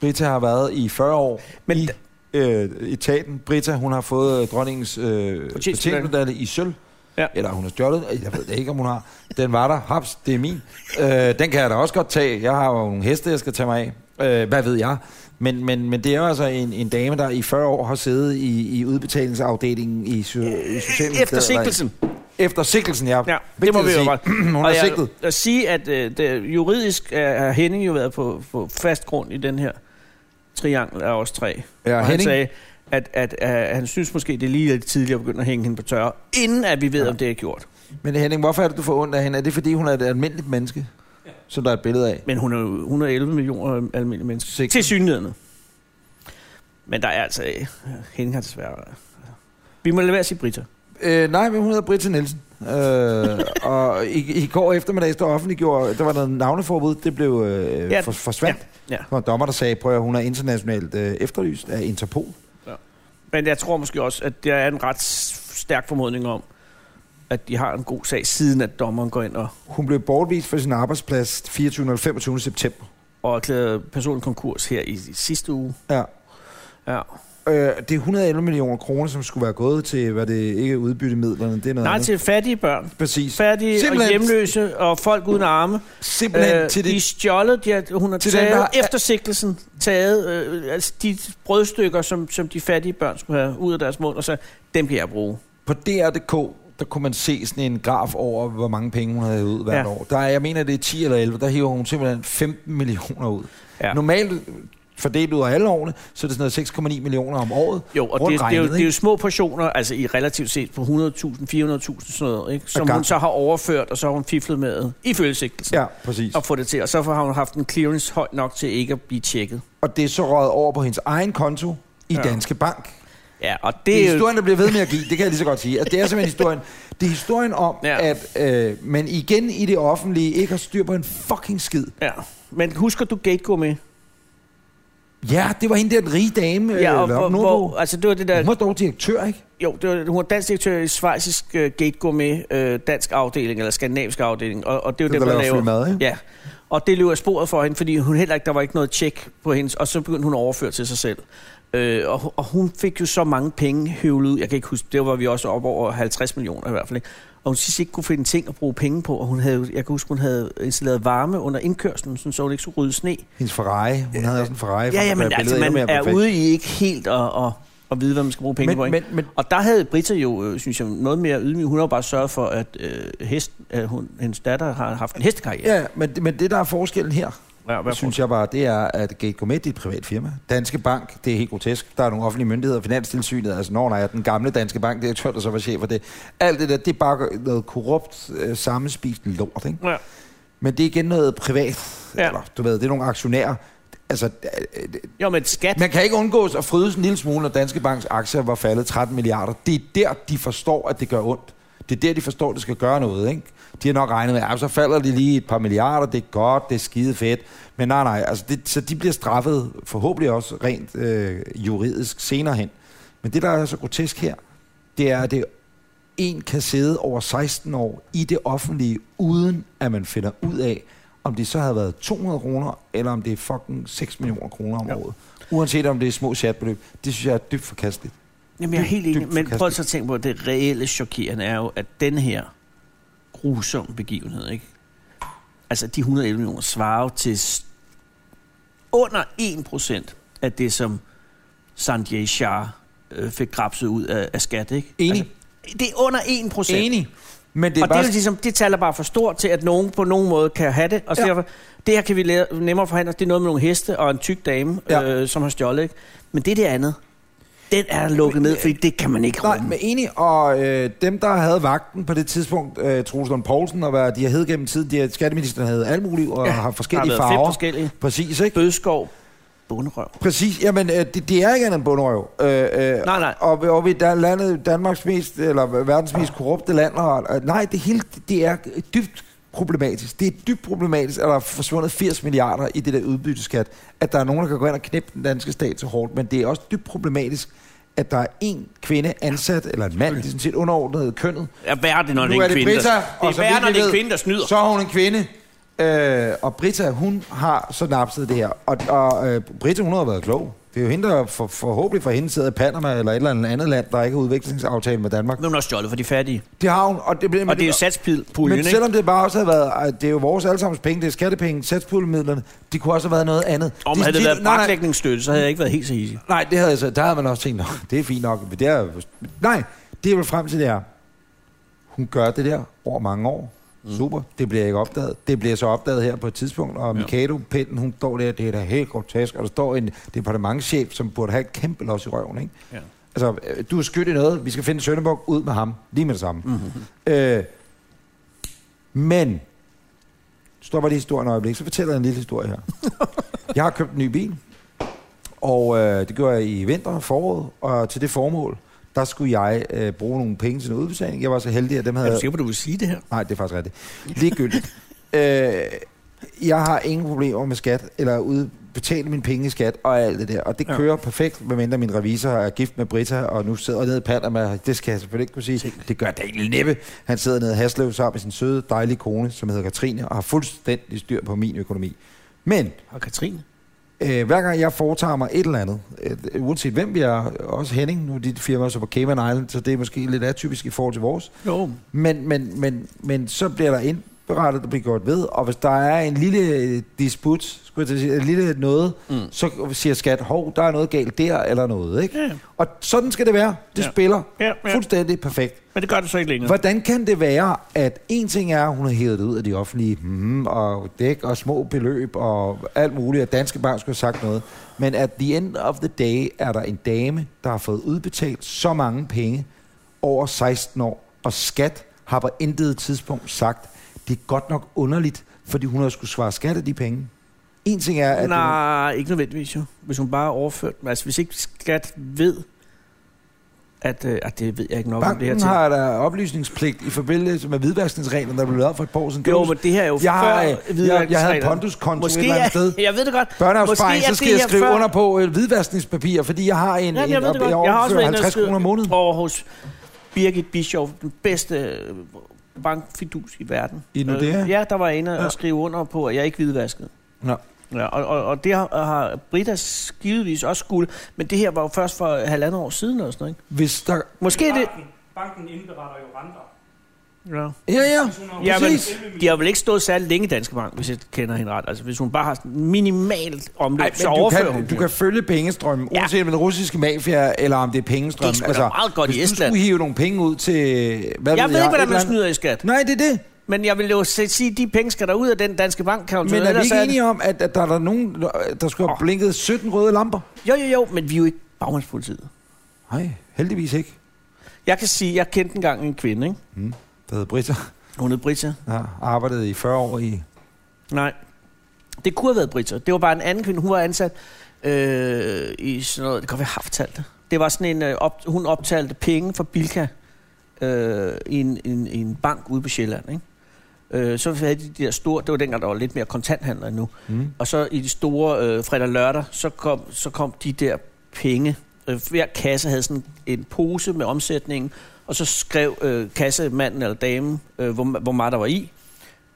S1: Brita har været i 40 år
S2: Men
S1: Men i øh, etaten. Brita, hun har fået øh, dronningens øh,
S2: Fortjenstmedalje.
S1: fortjentmedalje i sølv.
S2: Ja.
S1: Ja. Eller hun har stjålet. den. Jeg ved det ikke, om hun har. Den var der. Haps, det er min. Øh, den kan jeg da også godt tage. Jeg har jo nogle heste, jeg skal tage mig af. Øh, hvad ved jeg? Men, men, men det er jo altså en, en dame, der i 40 år har siddet i, i udbetalingsafdelingen i, so, i Socialministeriet.
S2: efter sigtelsen.
S1: Efter sigtelsen, ja.
S2: Ja, det
S1: Vigtigt
S2: må
S1: at
S2: vi jo
S1: sige.
S2: godt.
S1: <clears throat> Hun
S2: Og
S1: er
S2: jeg,
S1: sigtet.
S2: at sige, at øh, det, juridisk er, har Henning jo været på, på fast grund i den her triangel af os tre.
S1: Ja,
S2: og han
S1: Henning.
S2: sagde, at, at, at, han synes måske, det er lige lidt tidligt at begynde at hænge hende på tørre, inden at vi ved, ja. om det er gjort.
S1: Men Henning, hvorfor er det, du får ondt af hende? Er det, fordi hun er et almindeligt menneske, som der er et billede af?
S2: Men hun er jo 111 millioner almindelige mennesker.
S1: Sikkert.
S2: Til synligheden. Men der er altså... øh, Henning har desværre... øh, Vi må lade være at sige Britta.
S1: Øh, nej, men hun hedder Britta Nielsen. Øh, og i, i går eftermiddags, der offentliggjorde, der var noget navneforbud, det blev øh,
S2: Ja.
S1: ja. for, forsvandt. Ja.
S2: Ja.
S1: Der var en dommer, der sagde, prøv at hun er internationalt øh, efterlyst af Interpol.
S2: Men jeg tror måske også, at der er en ret s- stærk formodning om, at de har en god sag, siden at dommeren går ind og,
S1: Hun blev bortvist fra sin arbejdsplads 24. og 25. september.
S2: og erklærer personen konkurs her i, i sidste uge.
S1: Ja.
S2: Ja.
S1: Øh, det er 111 millioner kroner, som skulle være gået til, hvad det ikke er udbyttemidlerne, det er noget
S2: Nej,
S1: andet.
S2: til fattige børn.
S1: Præcis.
S2: Fattige Simpelthen. og
S1: Simpelthen.
S2: hjemløse og folk uden arme.
S1: Simpelthen
S2: Øh,
S1: øh, til
S2: de er
S1: det.
S2: stjålet, de har, hun har
S1: til
S2: taget
S1: dem, der har-
S2: efter sigtelsen, taget øh, altså de brødstykker, som, som de fattige børn skulle have ud af deres mund, og så dem kan jeg bruge.
S1: På DR.dk, der kunne man se sådan en graf over, hvor mange penge hun havde ud hvert
S2: Ja.
S1: ja. år. Der, er- jeg mener, det er 10 eller 11, der hiver hun simpelthen 15 millioner ud.
S2: Ja.
S1: Ja. Normalt fordelt ud af alle årene, så er det sådan noget 6,9 millioner om året.
S2: Jo, og det,
S1: Rundt
S2: det, er jo,
S1: regnet,
S2: det er jo
S1: ikke?
S2: små portioner, altså i relativt set på 100.000, 400.000 sådan noget, ikke? som
S1: Af
S2: hun
S1: gangen.
S2: så har overført, og så har hun fiflet med i følgesigtelsen
S1: Ja, præcis.
S2: og få det til. Og så har hun haft en clearance høj nok til ikke at blive tjekket.
S1: Og det er så røget over på hendes egen konto i
S2: Ja.
S1: ja. Danske Bank. Det
S2: Ja, og det,
S1: er
S2: det er jo...
S1: historien, der bliver ved med at give, det kan jeg lige så godt sige. Og det er simpelthen historien. Det er historien om,
S2: Ja.
S1: ja. at øh, man igen i det offentlige ikke har styr på en fucking skid.
S2: Ja. Men husker du Gategourmet? med?
S1: Ja, det var hende der, den rige dame.
S2: Ja, og
S1: øh,
S2: hvor,
S1: Lotte Nordbo.
S2: hvor, altså det var det der
S1: Hun var dog direktør, ikke?
S2: Jo, det var, hun var dansk direktør i Schweizisk uh, Gate Gourmet, uh, dansk afdeling, eller skandinavisk afdeling, og, og det er jo
S1: Det
S2: dem,
S1: der
S2: der
S1: laver
S2: laver.
S1: fri mad, ikke?
S2: Ja, og det løb af sporet for hende, fordi hun heller ikke, der var ikke noget tjek på hendes, og så begyndte hun at overføre til sig selv. Øh, og, hu- og hun fik jo så mange penge høvlet ud, jeg kan ikke huske, det var vi også op over 50 millioner i hvert fald, ikke? Og hun sidst ikke kunne finde ting at bruge penge på, og hun havde, jo- jeg kan huske, hun havde installeret varme under indkørslen, sådan, så hun ikke skulle rydde sne.
S1: Hendes Ferrari. Hun havde også en Ferrari.
S2: Ja, ja,
S1: faktisk,
S2: men
S1: der
S2: altså,
S1: billedet
S2: man
S1: endnu mere
S2: er
S1: perfekt.
S2: ude i ikke helt at, at, at vide, hvad man skal bruge penge på.
S1: men,
S2: ikke?
S1: men, men,
S2: Og der havde Britta jo, øh, synes jeg, noget mere ydmyg. Hun har jo bare sørget for, at øh, hest, øh, hun, hendes datter har haft en hestekarriere.
S1: ja, men, men det, der er forskellen her,
S2: Ja,
S1: Hvad synes jeg bare, det er, at Gate Gourmet det er et privat firma. Danske Bank, det er helt grotesk. Der er nogle offentlige myndigheder, Finanstilsynet, altså når nej, den gamle Danske Bank, det er tørt, der så var chef for det. Alt det der, det er bare noget korrupt, øh, sammenspist lort, ikke?
S2: Ja.
S1: Men det er igen noget privat,
S2: Ja.
S1: ja. eller du ved, det er nogle aktionærer. Altså, øh, øh,
S2: Jo, men skat.
S1: man kan ikke undgås at frydes en lille smule, når Danske Banks aktier var faldet 13 milliarder. Det er der, de forstår, at det gør ondt. Det er der, de forstår, at det skal gøre noget, ikke? De har nok regnet med, at så falder de lige et par milliarder, det er godt, det er skide fedt. Men nej, nej, altså det, så de bliver straffet forhåbentlig også rent øh, juridisk senere hen. Men det, der er så grotesk her, det er, at det en kan sidde over 16 år i det offentlige, uden at man finder ud af, om det så havde været 200 kroner, eller om det er fucking 6 millioner kroner om
S2: Ja.
S1: året. Uanset om det er små chatbeløb. Det synes jeg er dybt forkasteligt.
S2: Jamen, jeg er helt
S1: dybt
S2: enig. Men prøv
S1: forkasteligt.
S2: så at tænke på, at det reelle chokerende er jo, at den her grusom begivenhed, ikke? Altså, de 111 millioner svarer jo til s- under 1 procent af det, som Sanjay Shah øh, fik grabset ud af, af skat, ikke?
S1: Enig.
S2: Altså, det er under 1 procent.
S1: Enig. Men det er
S2: og
S1: bare...
S2: det er jo ligesom, det tal er bare for stort til, at nogen på nogen måde kan have det. Og så
S1: Ja.
S2: ja. derfor, det her kan vi lære, nemmere forhandle. Det er noget med nogle heste og en tyk dame,
S1: Ja.
S2: ja. øh, som har stjålet. Ikke? Men det der andet, den er lukket ned, fordi det kan man ikke
S1: Nej,
S2: rumme.
S1: men enig, og øh, dem, der havde vagten på det tidspunkt, øh, Troels Lund Poulsen, og hvad de har hed gennem tiden, de har, skatteministeren havde alt muligt, og ja, har forskellige
S2: har været
S1: farver.
S2: Fem forskellige.
S1: Præcis, ikke?
S2: Bødskov, bunderøv.
S1: Præcis, jamen øh, det, det er ikke andet end bunderøv. Øh, øh,
S2: Nej, nej.
S1: Og, og vi er landet Danmarks mest, eller verdens mest korrupte land. Og, og, nej, det hele, det er dybt problematisk. Det er dybt problematisk, at der er forsvundet 80 milliarder i det der udbytteskat. At der er nogen, der kan gå ind og knæppe den danske stat så hårdt, men det er også dybt problematisk, at der er en kvinde ansat, eller en mand, det er sådan set underordnet kønnet.
S2: Ja, hvad er det, når det
S1: nu
S2: er
S1: er
S2: en
S1: det
S2: kvinde,
S1: Britta,
S2: der,
S1: og
S2: det er
S1: så
S2: værre,
S1: vidt
S2: når
S1: vi
S2: det er en
S1: ved,
S2: kvinde, der snyder.
S1: Så er hun en kvinde, øh, og Britta, hun har så napset det her. Og, og øh, Britta, hun har været klog. Det er jo hende, der for, forhåbentlig fra hende sidder i Panama eller et eller andet andet land, der ikke har udviklingsaftale med Danmark.
S2: Men hun har stjålet for de fattige.
S1: Det har hun, og det,
S2: Og det er
S1: men
S2: jo satspuljen, ikke?
S1: selvom det bare også havde været, at det er jo vores allesammens penge, det er skattepenge, satspuljemidlerne, det kunne også have været noget andet.
S2: Om
S1: De-
S2: havde det
S1: de-
S2: været
S1: nej, nej,
S2: braklægningsstøtte, så havde jeg ikke været helt så easy.
S1: Nej, det havde jeg så. Der havde man også tænkt, "Nå, det er fint nok. Men det er, jo- nej, det er vel frem til det her. Hun gør det der over mange år. Super, det bliver ikke opdaget. Det bliver så opdaget her på et tidspunkt, og Mikado, pinden, hun står der, det er da helt grotesk, og der står en departementchef, som burde have et kæmpe los i røven, ikke?
S2: Ja.
S1: Altså, øh, du er skyld i noget, vi skal finde Sønderborg ud med ham, lige med det samme. Mm-hmm. Øh, men, stopper lige historien et øjeblik, så fortæller jeg en lille historie her. jeg har købt en ny bil, og øh, det gjorde jeg i vinter og foråret, og til det formål, der skulle jeg øh, bruge nogle penge til en udbetaling. Jeg var så heldig, at dem
S2: Er
S1: havde...
S2: du sikker på, du vil sige det her?
S1: Nej, det er faktisk rigtigt. Ligegyldigt. <laughs> øh, jeg har ingen problemer med skat, eller ud betale mine penge i skat og alt det der. Og det
S2: Ja.
S1: kører perfekt, medmindre min revisor er gift med Britta, og nu sidder nede i Panama. Det skal jeg selvfølgelig ikke kunne sige. Det gør Daniel Neppe. Han sidder nede i Haslev sammen med sin søde, dejlige kone, som hedder Katrine, og har fuldstændig styr på min økonomi. Men
S2: Og Katrine?
S1: Øh, hver gang jeg foretager mig et eller andet, øh, uanset hvem vi er, også Henning, nu er dit firma så på Cayman Island, så det er måske lidt atypisk i forhold til vores,
S2: Jo.
S1: men, men, men, men så bliver der indberettet, der bliver gjort ved, og hvis der er en lille øh, disput, skulle jeg til at sige, en lille noget, mm. så siger skat, hov, der er noget galt der, eller noget, ikke?
S2: Ja.
S1: Og sådan skal det være. Det
S2: Ja.
S1: spiller
S2: Ja, ja.
S1: fuldstændig perfekt.
S2: Men det gør det så ikke længere.
S1: Hvordan kan det være, at en ting er, at hun har hævet det ud af de offentlige, mm, og dæk og små beløb og alt muligt, og Danske Bank skulle have sagt noget, men at the end of the day er der en dame, der har fået udbetalt så mange penge over 16 år, og skat har på intet tidspunkt sagt, det er godt nok underligt, fordi hun har skulle svare skat af de penge. En ting er, at...
S2: Nej, ikke nødvendigvis jo. Hvis hun bare overført Altså hvis ikke skat ved, at... Øh, at det ved jeg ikke nok om det her
S1: Banken
S2: til.
S1: har der oplysningspligt i forbindelse med hvidvaskningsreglerne, der blev lavet for et par år siden.
S2: Jo, men det her er jo
S1: Jeg har, øh,
S2: før
S1: jeg- jeg havde
S2: hvidvaskningsreglerne.
S1: ponduskonto
S2: Måske
S1: et eller <laughs> andet
S2: er-
S1: sted.
S2: Jeg ved det godt.
S1: børneopsparing,
S2: Måske er
S1: så skal
S2: det
S1: jeg
S2: her
S1: skrive
S2: før-
S1: under på øh, hvidvaskningspapir, fordi jeg har en,
S2: Ja,
S1: en
S2: jeg ved det
S1: jeg
S2: godt. Jeg har også
S1: overfører
S2: været inde og
S1: 50 kroner om
S2: skrive
S1: måneden
S2: over hos Birgit Bischof, den bedste øh, bankfidus i verden.
S1: I Nordea?
S2: Øh, Ja, der var jeg inde
S1: Ja.
S2: og skrive under på, at jeg ikke hvidvaskede.
S1: Nå.
S2: Ja, og, og, og det har, har Britta givetvis også skulle, men det her var jo først for halvandet år siden eller sådan noget, ikke?
S1: Hvis der...
S2: Måske er det...
S3: Banken, banken indberetter jo renter.
S2: Ja.
S1: Ja, ja.
S3: Hvis hun har
S2: Ja,
S1: Præcis.
S2: men de har vel ikke stået særlig længe i Danske Bank, hvis jeg kender hende ret. Altså, hvis hun bare har sådan minimalt omløb,
S1: Ej,
S2: så
S1: men du,
S2: overfører hun
S1: kan,
S2: det.
S1: du kan følge pengestrømmen, ja.
S2: Ja.
S1: uanset om det er russiske mafia, eller om det er pengestrømmen. Altså,
S2: Det er sgu da meget godt
S1: hvis
S2: i
S1: du
S2: Estland.
S1: skulle hive nogle penge ud til... Hvad
S2: Jeg ved ikke,
S1: et
S2: hvordan
S1: eller
S2: man
S1: andet-
S2: snyder i skat.
S1: Nej, det er det.
S2: Men jeg vil jo se- sige, at de penge skal der ud af den danske bankkonto.
S1: Men er vi
S2: ellers
S1: ikke
S2: det-
S1: enige om, at, at der er der nogen, der- der skulle have blinket 17 røde lamper?
S2: Jo, jo, jo, men vi er jo ikke bagmandspolitiet.
S1: Nej, heldigvis ikke.
S2: Jeg kan sige, at jeg kendte engang en kvinde, ikke?
S1: Der hedder Britta.
S2: Hun hed Britta.
S1: Jeg har arbejdet i 40 år i...
S2: Nej. Det kunne have været briter. Det var bare en anden kvinde. Hun var ansat øh, i sådan noget... Det kan godt være, jeg har fortalt det. Det var sådan en... Øh, op, hun optalte penge fra Bilka øh, i, en, en, en bank ude på Sjælland, ikke? Øh, så havde de de der store... Det var dengang, der var lidt mere kontanthandler endnu.
S1: Mm.
S2: Og så i de store øh, fredag og lørdag, så kom, så kom de der penge. Øh, hver kasse havde sådan en pose med omsætningen, og så skrev øh, kassemanden eller damen, øh, hvor, hvor meget der var i,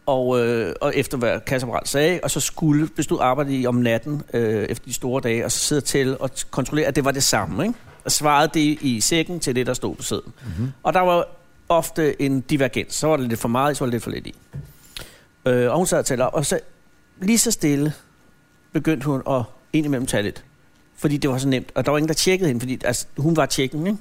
S2: og, øh, og efter hvad kasseapparat sagde, og så skulle bestod arbejdet i om natten øh, efter de store dage, og så sidde til og t- kontrollere, at det var det samme, ikke? og svarede det i sækken til det, der stod på sæden.
S1: Mm-hmm.
S2: Og der var ofte en divergens. Så var det lidt for meget, i, så var det lidt for lidt i. Øh, og hun sad og talte op, og så lige så stille begyndte hun at indimellem tage lidt. Fordi det var så nemt. Og der var ingen, der tjekkede hende, fordi altså, hun var tjekken, ikke?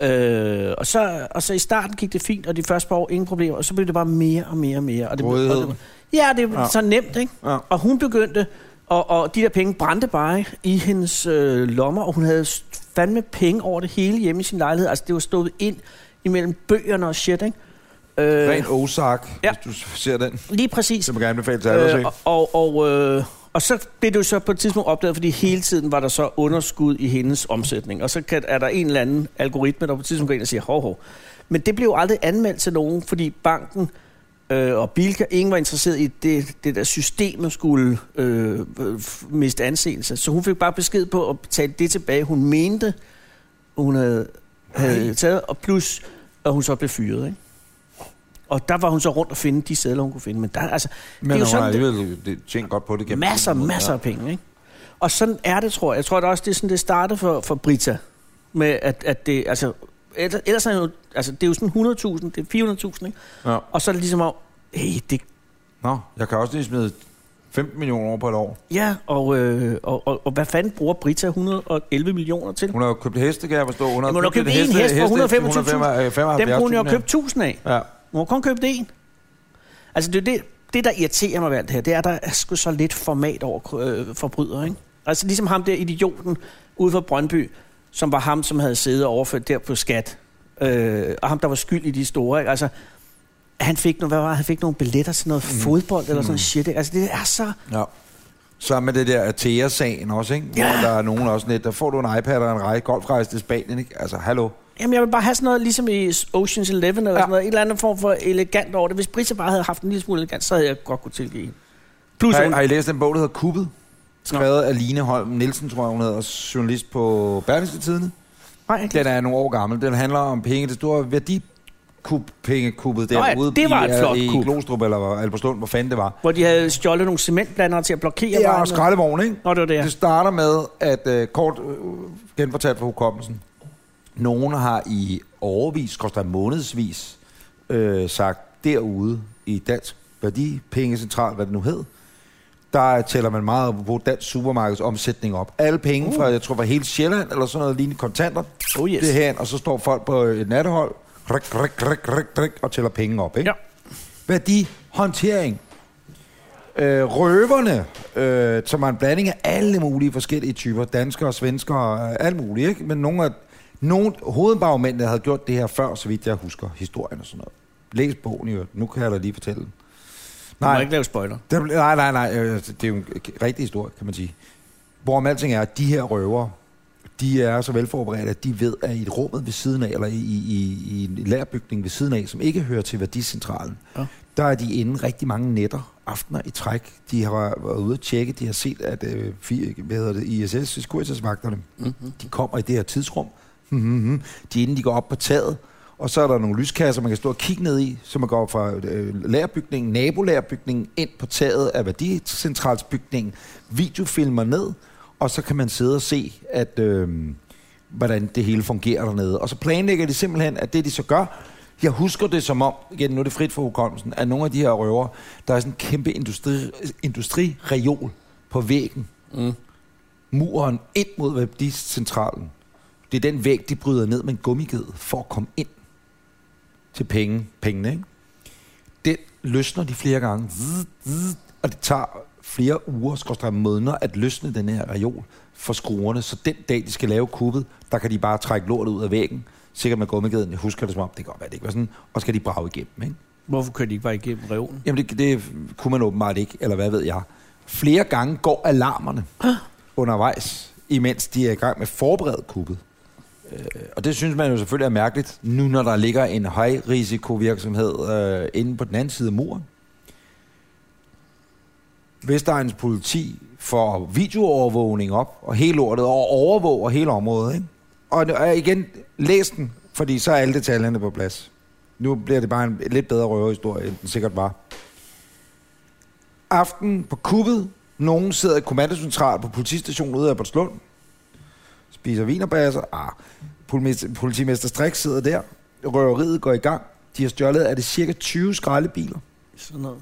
S2: Øh, og, så, og så i starten gik det fint, og de første par år ingen problemer, og så blev det bare mere og mere og mere. Og det, og
S1: Rådighed.
S2: det, var- ja, det var
S1: Ja.
S2: ja. så nemt, ikke?
S1: Ja.
S2: Og hun begyndte, og, og de der penge brændte bare ikke, i hendes øh, lommer, og hun havde st- fandme penge over det hele hjemme i sin lejlighed. Altså, det var stået ind imellem bøgerne og shit, ikke? Øh,
S1: Ren Ozark, ja.
S2: ja.
S1: hvis du ser den.
S2: lige præcis.
S1: Det må gerne befale til alle at se.
S2: Øh, og, og, øh, og så blev det jo så på et tidspunkt opdaget, fordi hele tiden var der så underskud i hendes omsætning. Og så kan, er der en eller anden algoritme, der på et tidspunkt går ind og siger, hov, hov. Men det blev jo aldrig anmeldt til nogen, fordi banken øh, og Bilka, ingen var interesseret i at det, det der systemet skulle øh, øh, f- miste anseelse. Så hun fik bare besked på at betale det tilbage, hun mente, hun havde, havde taget, og plus, at hun så blev fyret, ikke? Og der var hun så rundt og finde de sædler, hun kunne finde. Men der, altså,
S1: Men
S2: det er jo
S1: hun har
S2: sådan, det-
S1: alligevel det, tjent godt på det. gennem
S2: masser,
S1: tiden.
S2: masser
S1: Ja.
S2: af penge, ikke? Og sådan er det, tror jeg. Jeg tror da også, det er sådan, det startede for, for Brita. Med at, at det, altså, ellers ellers er det jo, altså, det er jo sådan 100.000, det er 400.000, ikke?
S1: Ja.
S2: Og så er det ligesom om, hey, det,
S1: Nå, jeg kan også lige smide 15 millioner over på et år.
S2: ja, og, øh, og, og, og, hvad fanden bruger Brita 111 millioner til?
S1: Hun har jo købt heste, kan jeg forstå. Hun har
S2: Jamen, hun har købt én hest for
S1: 125.000.
S2: Dem kunne hun jo have købt 1000 af.
S1: Ja.
S2: Hun har kun købt én. Altså, det, er det, det der irriterer mig ved alt det her, det er, at der er sgu så lidt format over øh, forbrydere, ikke? Altså, ligesom ham der idioten ude fra Brøndby, som var ham, som havde siddet og overført der på skat, øh, og ham, der var skyld i de store, ikke? Altså, han fik, nogle, hvad var, det? han fik nogle billetter til noget mm. fodbold eller sådan mm. shit. ikke? Altså, det er så...
S1: ja. Så med det der Atea-sagen også, ikke? Hvor
S2: Ja.
S1: der er nogen også net, der får du en iPad og en rej, golfrejse til Spanien, ikke? Altså, hallo.
S2: Jamen, jeg vil bare have sådan noget, ligesom i Ocean's Eleven eller
S1: Ja.
S2: ja. sådan noget. En eller anden form for elegant over det. Hvis Brita bare havde haft en lille smule elegant, så havde jeg godt kunne tilgive hende. Plus,
S1: Har,
S2: hun,
S1: har I læst den bog, der hedder Kuppet? Skrevet af Line Holm Nielsen, tror jeg, hun hedder, og journalist på Berlingske Tidene.
S2: nej, ikke
S1: Den er nogle år gammel. Den handler om penge. Det store værdipengekuppet
S2: Nå ja,
S1: derude
S2: det var
S1: i,
S2: et flot
S1: i
S2: kup.
S1: Glostrup eller Alberslund, hvor fanden det var.
S2: Hvor de havde stjålet nogle cementblandere til at blokere
S1: Ja, og
S2: vejen.
S1: skraldevogn, ikke?
S2: Nå, det var det, ja.
S1: Det starter med, at øh, kort øh, genfortalt fra hukommelsen, nogen har i overvis, skorstræk månedsvis, øh, sagt derude i Dansk Værdi, Pengecentral, hvad det nu hed, der tæller man meget på dansk supermarkeds omsætning op. Alle penge fra, jeg tror, fra hele Sjælland, eller sådan noget lignende kontanter,
S2: Oh Uh. yes.
S1: det her, og så står folk på øh, et nattehold, rik, rik, rik, rik, rik, og tæller penge op, ikke?
S2: Ja.
S1: værdihåndtering. Øh, røverne, øh, som er en blanding af alle mulige forskellige typer, danskere, svenskere, øh, alt muligt, ikke? Men nogle af nogle hovedbagmændene havde gjort det her før, så vidt jeg husker historien og sådan noget. Læs bogen i øvrigt. Nu kan jeg da lige fortælle den.
S2: Du må ikke lave spoiler.
S1: Der, ble- nej, nej, nej. øh, Det er jo en k- rigtig historie, kan man sige. Hvorom alting er, at de her røvere, de er så velforberedte, at de ved, at i et rummet ved siden af, eller i, i, i en lærbygning ved siden af, som ikke hører til værdicentralen, ja.
S2: Ja.
S1: der er de inde rigtig mange nætter, aftener i træk. De har været ude at tjekke, de har set, at øh, fi- hvad hedder det, ISS, Securitas-vagterne, mm-hmm. de kommer i det her tidsrum. Mm-hmm. De er inde, de går op på taget, og så er der nogle lyskasser, man kan stå og kigge ned i, så man går fra øh, lærerbygningen, nabolærerbygningen, ind på taget af værdicentralsbygningen, videofilmer ned, og så kan man sidde og se, at, øh, hvordan det hele fungerer dernede. Og så planlægger de simpelthen, at det de så gør, jeg husker det som om, igen nu er det frit for hukommelsen, at nogle af de her røver, der er sådan en kæmpe industri, industrireol på væggen. Mm. Muren ind mod værdicentralen. Det er den væg, de bryder ned med en gummiged for at komme ind til penge, pengene. Ikke? Den løsner de flere gange. Zzz, zzz, Og det tager flere uger, skorstræk måneder, at løsne den her reol for skruerne. Så den dag, de skal lave kuppet, der kan de bare trække lortet ud af væggen. Sikkert med gummigeden. Jeg husker det som om, det kan godt være, det ikke var sådan. Og skal de brage igennem, ikke?
S2: Hvorfor kørte de ikke bare igennem reolen?
S1: Jamen, det, det kunne man åbenbart ikke, eller hvad ved jeg. Flere gange går alarmerne undervejs, imens de er i gang med forberedt kuppet. Øh, Og det synes man jo selvfølgelig er mærkeligt, nu når der ligger en højrisikovirksomhed øh, inde på den anden side af muren. Vestegns politi får videoovervågning op, og hele lortet, og overvåger hele området. Ikke? Og nu- og igen, læs den, fordi så er alle detaljerne på plads. Nu bliver det bare en lidt bedre røverhistorie, end den sikkert var. Aften på kuppet, nogen sidder i kommandocentral på politistationen ude af Abertslund, spiser vinerbasser. Ah, politimester, politimester Strik sidder der. Røveriet går i gang. De har stjålet, er det cirka 20 skraldebiler
S2: Sådan noget.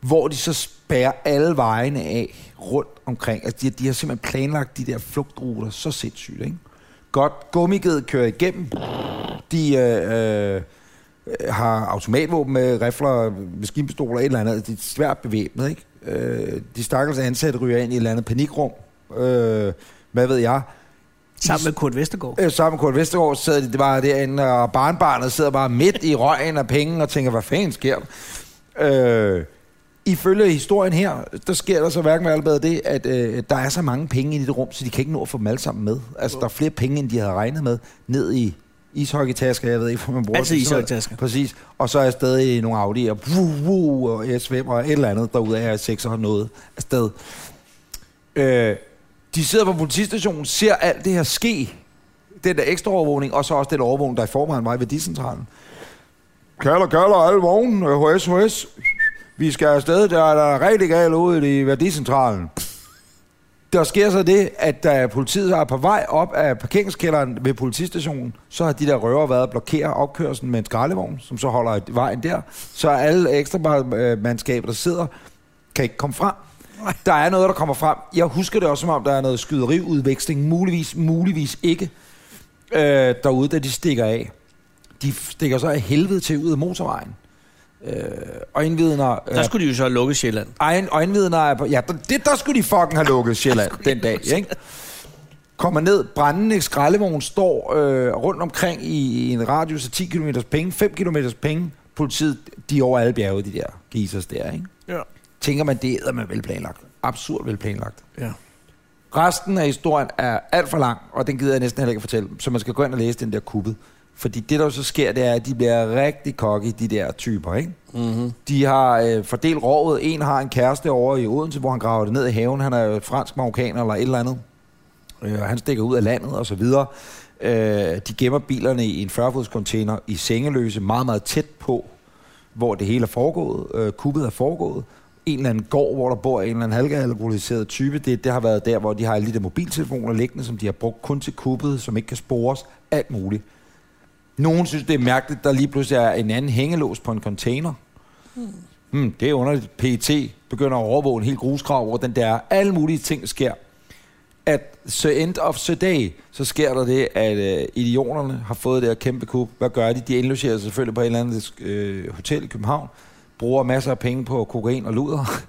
S1: hvor de så spærrer alle vejene af rundt omkring. Altså, de, de har simpelthen planlagt de der flugtruter så sindssygt, ikke? Godt, gummiged kører igennem. De øh, øh, har automatvåben med rifler, maskinpistoler, et eller andet. De er svært bevæbnet, ikke? Øh, de stakkels ansatte ryger ind i et eller andet panikrum. Øh, hvad ved jeg?
S2: Sammen med Kurt Vestergaard.
S1: Øh, sammen med Kurt Vestergaard sad de bare derinde, og barnbarnet sidder bare midt i røgen af penge og tænker, hvad fanden sker der? Øh, ifølge historien her, der sker der så hverken med albedet det, at øh, der er så mange penge i det rum, så de kan ikke nå at få dem alle sammen med. Altså, der er flere penge, end de havde regnet med, ned i ishockeytasker, jeg ved ikke, hvor man bruger
S2: Altid
S1: til sådan noget.
S2: ishockeytasker.
S1: Præcis. Og så er jeg stadig i nogle Audi'er, wuh, wuh, og S5 og et eller andet, derude af 6 og noget afsted. Øh, de sidder på politistationen, ser alt det her ske, den der ekstra overvågning, og så også den overvågning, der i forvejen var i værdicentralen. Kalder, kalder, alle vognen, øh, HS, HS. Vi skal afsted, der er der rigtig galt ude i værdicentralen. Der sker så det, at da politiet er på vej op af parkeringskælderen ved politistationen, så har de der røver været at blokere opkørselen med en skraldevogn, som så holder i vejen der. Så er alle ekstra øh, mandskaber, der sidder, kan ikke komme frem. Der er noget, der kommer frem. Jeg husker det også, som om der er noget skyderiudveksling. Muligvis, muligvis ikke. Øh, derude, da de stikker af. De stikker så af helvede til ud af motorvejen. Øh, og indvidner... øh,
S2: Der skulle de jo så lukke Sjælland.
S1: Egen øjenvidner er på... Ja, der, det, der skulle de fucking have lukket Sjælland den dag, ikke? Kommer ned, brændende skraldevogn står øh, rundt omkring i, i en radius af 10 km penge, 5 km penge. Politiet, de er over alle bjerge, de der geasers der, ikke?
S2: Ja.
S1: Tænker man, det er man velplanlagt. Absurd velplanlagt.
S2: ja.
S1: Resten af historien er alt for lang, og den gider jeg næsten heller ikke at fortælle. Så man skal gå ind og læse den der kuppet. Fordi det, der jo så sker, det er, at de bliver rigtig kokke, de der typer, ikke?
S2: Mm-hmm.
S1: De har øh, fordelt rovet. En har en kæreste over i Odense, hvor han graver det ned i haven. Han er jo fransk marokkaner eller et eller andet. Øh, han stikker ud af landet og så videre. Øh, de gemmer bilerne i en 40-fods container i sengeløse, meget, meget tæt på, hvor det hele er foregået. Øh, kuppet er foregået. En eller anden gård, hvor der bor en eller anden halvalkoholiseret type. Det, det har været der, hvor de har alle de der mobiltelefoner liggende, som de har brugt kun til kuppet, som ikke kan spores. Alt muligt. Nogen synes, det er mærkeligt, der lige pludselig er en anden hængelås på en container. Hmm, det er underligt. PET begynder at overvåge en hel grusgrav over den der. Alle mulige ting sker. At the end of the day, så sker der det, at øh, idioterne har fået det her kæmpe kub. Hvad gør de? De indlogerer selvfølgelig på et eller andet øh, hotel i København. Bruger masser af penge på kokain og luder.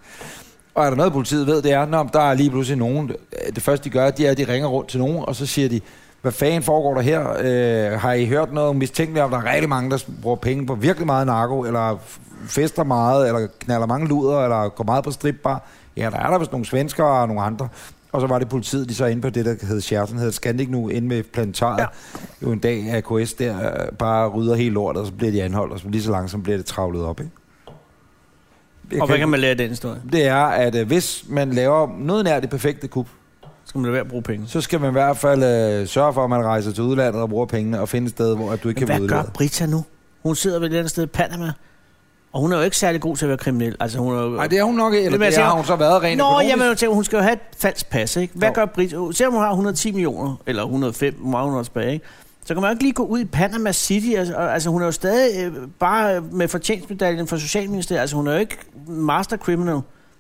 S1: Og er der noget, politiet ved, det er, når der er lige pludselig nogen, det første de gør, det er, at de ringer rundt til nogen, og så siger de, hvad fanden foregår der her? Øh, har I hørt noget mistænkeligt om, der er rigtig mange, der bruger penge på virkelig meget narko, eller f- fester meget, eller knaller mange luder, eller går meget på stripbar? Ja, der er der vist nogle svenskere og nogle andre. Og så var det politiet, de så inde på det, der hed Scherzen, hed Scandic nu, inde med planetariet. Ja. Jo en dag, AKS der øh, bare rydder helt lortet, og så bliver de anholdt, og så lige så langsomt bliver det travlet op, ikke? Jeg
S2: Og hvad
S1: ikke-
S2: kan man lære af den historie?
S1: det er, at øh, hvis man laver noget nær det perfekte kup,
S2: Så skal man lade være at bruge penge.
S1: så skal man i hvert fald øh, sørge for, at man rejser til udlandet og bruger pengene og finder et sted, hvor at du ikke
S2: Men
S1: kan blive
S2: hvad gør
S1: udleveret.
S2: Brita nu? Hun sidder ved et eller andet sted i Panama, og hun er jo ikke særlig god til at være kriminel. Altså, hun er jo...
S1: Nej, det er hun nok, eller
S2: Det
S1: det,
S2: vil altså,
S1: det
S2: jeg sige-
S1: har hun så været rent
S2: Nå,
S1: økonomisk.
S2: jamen, jeg tænker, hun skal jo have et falsk pas, ikke? Hvad
S1: Jo.
S2: gør Brita? Se, om hun har 110 millioner, eller 105, hvor meget hun har tilbage, ikke? Så kan man jo ikke lige gå ud i Panama City. Altså, og- altså hun er jo stadig øh, bare øh, med fortjensmedaljen fra Socialministeriet. Altså, hun er jo ikke master criminal.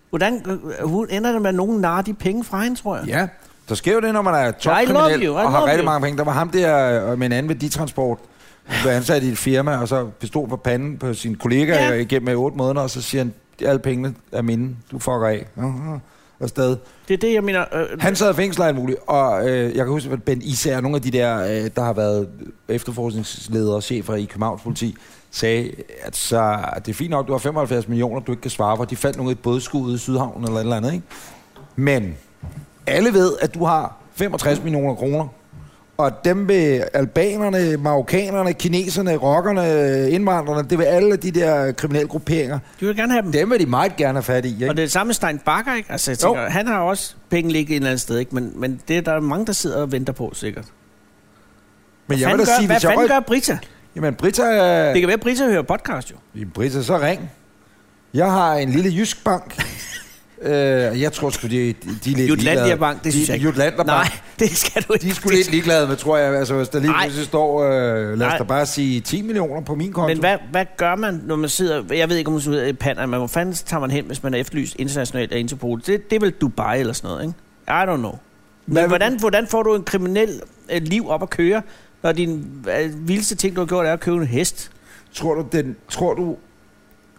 S2: Hvordan øh, hun ender det med, at nogen narer de penge fra hende, tror jeg?
S1: Ja, der sker jo det, når man er
S2: I love
S1: topkriminel
S2: you, I
S1: og har
S2: love
S1: rigtig
S2: you.
S1: mange penge. Der var ham der øh, med en anden værditransport, blev ansat i et firma, og så pistol på panden på sin kollega
S2: Ja.
S1: ja. igennem otte måneder, og så siger han, alle pengene er mine, du fucker af. Uh-huh. Og stadig.
S2: Det er det, jeg mener. Øh,
S1: Han sad i fængsel og alt muligt, og øh, jeg kan huske, at Ben Især, nogle af de der, øh, der har været efterforskningsledere og chefer i Københavns politi, sagde, at så, det er fint nok, du har 75 millioner, du ikke kan svare for. De fandt nogle et bådskud ude i Sydhavn eller et eller andet, ikke? Men alle ved, at du har 65 millioner kroner. Og dem vil albanerne, marokkanerne, kineserne, rockerne, indvandrerne, det vil alle de der kriminelle grupperinger,
S2: De vil gerne have dem.
S1: dem vil de meget gerne have fat i, ikke?
S2: Og det er det samme med Stein Bakker, ikke? Altså, jeg
S1: Jo.
S2: tænker, han har også penge ligget et eller andet sted, ikke? Men, men det er der mange, der sidder og venter på, sikkert.
S1: Men jeg vil da
S2: Fanden gør,
S1: sige,
S2: hvad
S1: hvis jeg
S2: fanden
S1: røg...
S2: gør Brita?
S1: Jamen, Britta...
S2: Det kan være, at Brita hører podcast, jo.
S1: Jamen, Britta, så ring. Jeg har en lille jysk
S2: <laughs>
S1: bank. øh, jeg tror sgu, de, de er lidt
S2: Jutlandia
S1: ligeglade.
S2: Bank, det synes
S1: de,
S2: jeg ikke.
S1: Jutlandia
S2: Nej, <laughs>
S1: Bank.
S2: det skal du ikke.
S1: De er sgu lidt ligeglade med, tror jeg. Altså, hvis der lige
S2: Nej.
S1: pludselig står, øh, lad os
S2: Nej.
S1: da bare sige 10 millioner på min konto.
S2: Men hvad, hvad gør man, når man sidder... Jeg ved ikke, om man sidder i Panama, men hvor fanden tager man hen, hvis man er efterlyst internationalt af Interpol? Det, det er vel Dubai eller sådan noget, ikke? I don't know. Men
S1: Hvad vil-
S2: hvordan, hvordan får du en kriminel øh, liv op at køre, når din øh, vildeste ting, du har gjort, er at købe en hest?
S1: Tror du, den, tror du,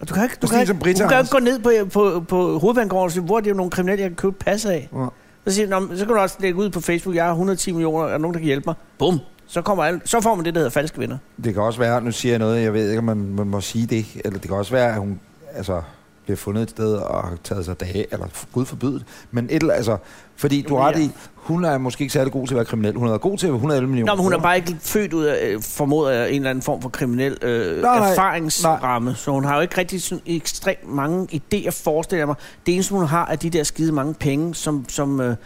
S2: Og du kan ikke, du
S1: Præcis
S2: kan,
S1: som
S2: ikke,
S1: Britta
S2: du kan
S1: har.
S2: ikke gå ned på, på, på hovedbanegården og sige, hvor er det jo nogle kriminelle, jeg kan købe pas af?
S1: Ja.
S2: Så, siger, jeg, "Nå, men så kan du også lægge ud på Facebook, jeg har 110 millioner, er der nogen, der kan hjælpe mig? Bum! Så, kommer alle, så får man det, der hedder falske venner.
S1: det kan også være, nu siger jeg noget, jeg ved ikke, om man, man må sige det, eller det kan også være, at hun altså, bliver fundet et sted og har taget sig dage, eller gud forbydet, men et eller altså, fordi du har ret i, hun er måske ikke særlig god til at være kriminel. Hun er god til at være 111 millioner.
S2: Nå, men hun er
S1: kroner.
S2: bare ikke født ud af, øh, formoder jeg, en eller anden form for kriminel øh,
S1: Nej, nej.
S2: erfaringsramme. Så hun har jo ikke rigtig sådan ekstremt mange idéer, forestiller jeg mig. Det eneste, hun har, er de der skide mange penge, som, som, øh,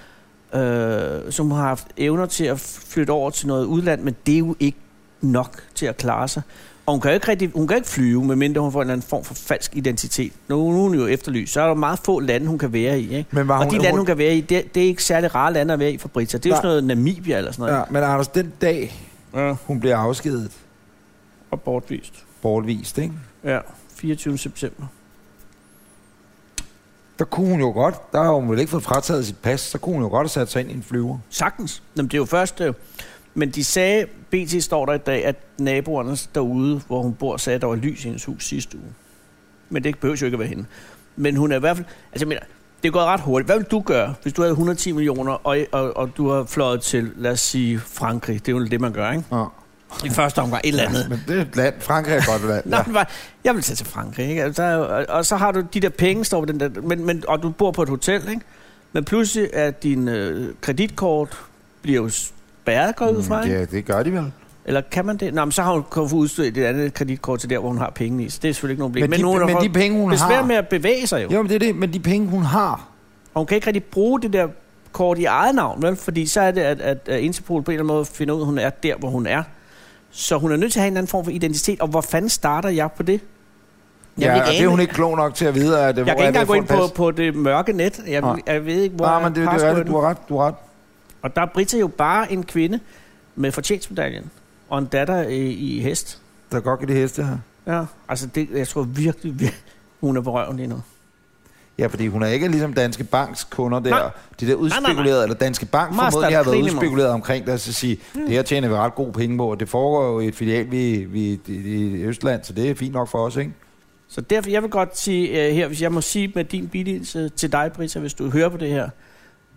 S2: øh, som hun har haft evner til at flytte over til noget udland, men det er jo ikke nok til at klare sig. Og hun kan jo ikke, rigtig, hun kan ikke flyve, medmindre hun får en eller anden form for falsk identitet. Nu, nu er hun jo efterlyst, så er der meget få lande, hun kan være i. Ikke?
S1: Men var
S2: Og
S1: Ah, hun-
S2: de lande,
S1: hun-
S2: hun kan være i, det, det er ikke særlig rare lande at være i for Brita. Det er jo
S1: Nej.
S2: sådan noget Namibia eller sådan noget.
S1: Ja, men Anders, den dag,
S2: Ja.
S1: hun bliver afskedet,
S2: og bortvist.
S1: bortvist, ikke?
S2: Ja, 24. september.
S1: der kunne hun jo godt, der har hun vel ikke fået frataget sit pas, så kunne hun jo godt have sat sig ind i en flyver.
S2: Sagtens. Jamen, det er jo først... øh, Men de sagde, BT står der i dag, at naboerne derude, hvor hun bor, sagde, at der var lys i hendes hus sidste uge. Men det behøver jo ikke at være hende. Men hun er i hvert fald... Altså, jeg mener, det er gået ret hurtigt. Hvad vil du gøre, hvis du havde 110 millioner, og, og, og du har fløjet til, lad os sige, Frankrig? Det er jo det, man gør, ikke?
S1: Ja.
S2: I første omgang, et eller andet.
S1: Men det er et land. Frankrig er et godt land.
S2: Nå,
S1: ja.
S2: ja. bare, jeg vil tage til Frankrig, ikke? Altså, der, er jo- og, og så har du de der penge, står på den der, men, men, og du bor på et hotel, ikke? Men pludselig er din øh, kreditkort bliver jo spærret, går jeg ud fra, ikke?
S1: Mm, ja, det gør de vel.
S2: Eller kan man det? Nå, men så har hun kunnet få udstedt et andet kreditkort til der, hvor hun har penge i. Så det er selvfølgelig ikke nogen problem.
S1: Men, men,
S2: hun
S1: de,
S2: har
S1: men de
S2: fået
S1: penge, hun
S2: besvær
S1: har...
S2: med at bevæge sig jo.
S1: Jo, men det er det, men de penge, hun har...
S2: Og hun kan ikke rigtig bruge det der kort i eget navn, vel? Fordi så er det, at, at at Interpol på en eller anden måde finder ud, at hun er der, hvor hun er. Så hun er nødt til at have en eller anden form for identitet. Og hvor fanden starter jeg på det? Jeg
S1: ja,
S2: vil
S1: og det
S2: ane
S1: er hun
S2: det.
S1: ikke klog nok til at vide, at det
S2: Jeg
S1: hvor
S2: kan
S1: er
S2: ikke engang
S1: det,
S2: gå ind
S1: for et
S2: på,
S1: pas?
S2: på det mørke net. Jeg,
S1: Nej.
S2: jeg ved ikke, hvor
S1: Nej, men det, det er rigtigt.
S2: passwordet
S1: Du har ret. Du har ret.
S2: Og der er Brita jo bare en kvinde med fortjensmedaljen og en datter øh, i hest.
S1: Der er godt i det heste her.
S2: Ja, altså det, jeg tror virkelig, virkelig, hun er på røven lige nu.
S1: Ja, fordi hun er ikke ligesom Danske Banks kunder der.
S2: Nej.
S1: De der udspekulerede,
S2: nej,
S1: eller Danske Bank
S2: Master
S1: formodentlig har været
S2: Cleaning.
S1: udspekuleret omkring det, og så sige,
S2: Hmm.
S1: det her tjener vi ret gode penge på, og det foregår jo i et filial vi, vi, i, i Østland, så det er fint nok for os, ikke?
S2: Så derfor, jeg vil godt sige øh, her, hvis jeg må sige med din billigelse til dig, Brita, hvis du hører på det her,